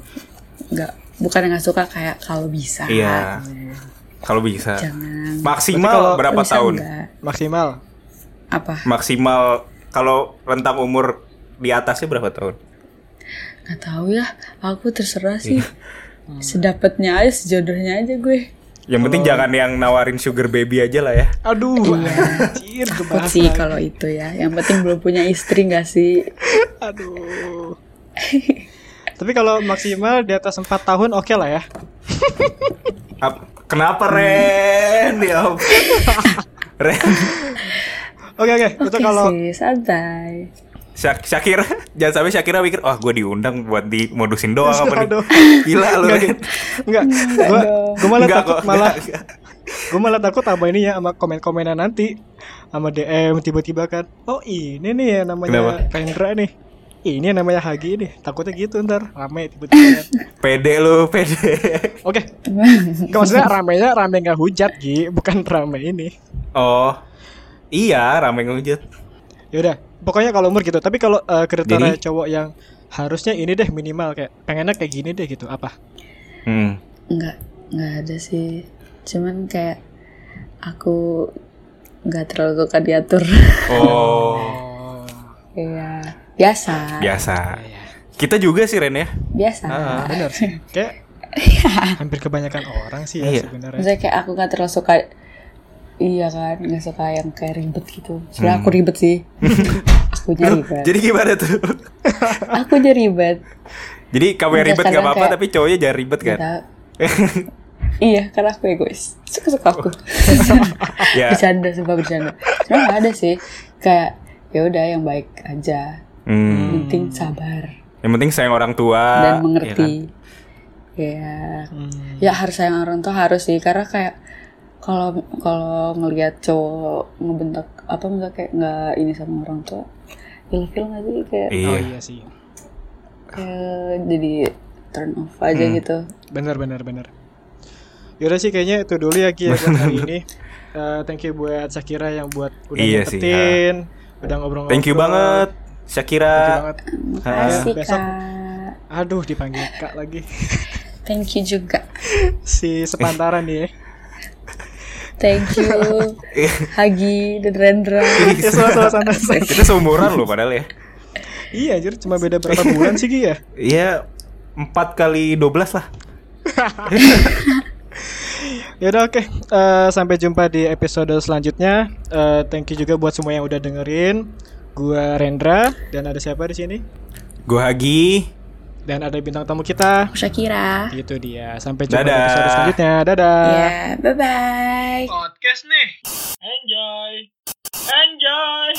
Speaker 3: nggak bukan nggak suka kayak kalau bisa
Speaker 2: Iya. Kalau bisa.
Speaker 3: jangan
Speaker 2: Maksimal
Speaker 1: Berarti kalau-
Speaker 2: berapa
Speaker 3: Bisa
Speaker 2: tahun?
Speaker 3: nggak?
Speaker 1: Maksimal.
Speaker 3: apa
Speaker 2: Maksimal kalau rentang umur di atasnya berapa tahun?
Speaker 3: nggak tahu ya aku terserah
Speaker 2: Iya.
Speaker 3: sih Hmm. sedapatnya aja sejodohnya aja gue
Speaker 2: Yang penting jangan yang nawarin sugar baby aja lah ya.
Speaker 1: Aduh, anjir
Speaker 3: takut
Speaker 1: gebas.
Speaker 3: sih kalau itu ya yang penting belum punya istri nggak sih
Speaker 1: Aduh. Tapi kalau maksimal di atas 4 tahun oke lah ya.
Speaker 2: Ap-
Speaker 1: Hmm.
Speaker 2: Kenapa Ren? Ya ampun. Ren,
Speaker 1: Oke oke,
Speaker 3: oke
Speaker 1: itu kalau
Speaker 3: sih santai
Speaker 2: Syak- Syakira, jangan sampai Syakira mikir, wah gue diundang buat dimodusin doang apa nih?
Speaker 1: Aduh.
Speaker 2: Gila lu Ren.
Speaker 1: enggak gua gua malah
Speaker 2: Enggak
Speaker 1: takut
Speaker 2: kok,
Speaker 1: malah
Speaker 2: enggak,
Speaker 1: gua malah takut sama ini ya sama komen-komenan nanti sama DM tiba-tiba kan. Oh, ini nih yang namanya
Speaker 2: Kenapa?
Speaker 1: Kendra nih. Ini yang namanya Hagi nih. Takutnya gitu ntar rame tiba-tiba. kan.
Speaker 2: Pede lu, pede.
Speaker 1: Oke. Nggak, maksudnya ramenya rame nggak hujat Gi, bukan rame ini.
Speaker 2: Oh, iya rame ngujut.
Speaker 1: Yaudah, pokoknya kalau umur gitu. Tapi kalau eh, kriteria
Speaker 2: Jadi?
Speaker 1: cowok yang harusnya ini deh minimal kayak pengennya kayak gini deh gitu apa?
Speaker 2: Hmm.
Speaker 3: nggak nggak ada sih cuman kayak aku nggak terlalu suka diatur
Speaker 2: Oh,
Speaker 3: iya biasa
Speaker 2: biasa. Iya, Kita juga sih Ren ya.
Speaker 3: biasa
Speaker 2: Ah.
Speaker 1: Bener sih. Kayak hampir kebanyakan orang sih ya
Speaker 2: Iya.
Speaker 1: sebenarnya.
Speaker 3: maksudnya kayak aku nggak terlalu suka iya kan nggak suka yang kayak ribet gitu sebenarnya aku ribet sih aku ribet
Speaker 2: Hmm. Jadi gimana tuh?
Speaker 3: aku aja ribet
Speaker 2: Jadi kamu yang
Speaker 3: Enggak,
Speaker 2: ribet gak
Speaker 3: kadang
Speaker 2: apa-apa,
Speaker 3: kayak-
Speaker 2: tapi cowoknya jangan ribet kan?
Speaker 3: Nggak tahu. iya karena aku egois suka suka aku
Speaker 2: Ya.
Speaker 3: bercanda sumpah bercanda cuma nggak ada sih kayak ya udah yang baik aja
Speaker 2: Hmm.
Speaker 3: Yang penting sabar
Speaker 2: Yang penting sayang orang tua.
Speaker 3: dan
Speaker 2: ya kan?
Speaker 3: mengerti ya
Speaker 1: Hmm.
Speaker 2: Iya.
Speaker 3: ya harus sayang orang tuh harus sih karena kayak kalau kalau ngelihat cowok ngebentak apa enggak kayak nggak ini sama orang tua ilfil nggak sih kayak,
Speaker 1: Oh
Speaker 2: Iya.
Speaker 1: iya sih.
Speaker 3: kayak jadi turn off aja
Speaker 2: Hmm.
Speaker 3: gitu
Speaker 1: Bener bener bener. Yaudah sih kayaknya itu dulu ya Ki ya buat hari ini. Eh, thank you buat Sakira yang buat udah
Speaker 2: Iya sih,
Speaker 1: nyempetin, udah ngobrol-ngobrol.
Speaker 2: Thank you banget,
Speaker 1: Oh. Thank you
Speaker 2: Syakira.
Speaker 1: banget.
Speaker 3: makasih
Speaker 1: Besok-
Speaker 3: kak
Speaker 1: Aduh dipanggil Kak lagi.
Speaker 3: Thank you juga.
Speaker 1: si sepantaran ya. dia
Speaker 3: Thank you Hagi dan Rendra.
Speaker 1: ya sama sama santai santai.
Speaker 2: Kita seumuran loh padahal ya.
Speaker 1: iya anjir cuma beda berapa bulan sih Gi, ya
Speaker 2: Iya 4 kali 12 lah.
Speaker 1: Yaudah oke, Eh, sampai jumpa di episode selanjutnya. Eh, thank you juga buat semua yang udah dengerin. Gua Rendra dan ada siapa di sini?
Speaker 2: Gue Hagi.
Speaker 1: Dan ada bintang tamu kita.
Speaker 3: Aku Shakira.
Speaker 1: Itu dia. Sampai jumpa di
Speaker 2: Dadah.
Speaker 1: episode selanjutnya. Dadah.
Speaker 3: Ya, bye bye.
Speaker 1: Podcast nih. Enjoy. Enjoy.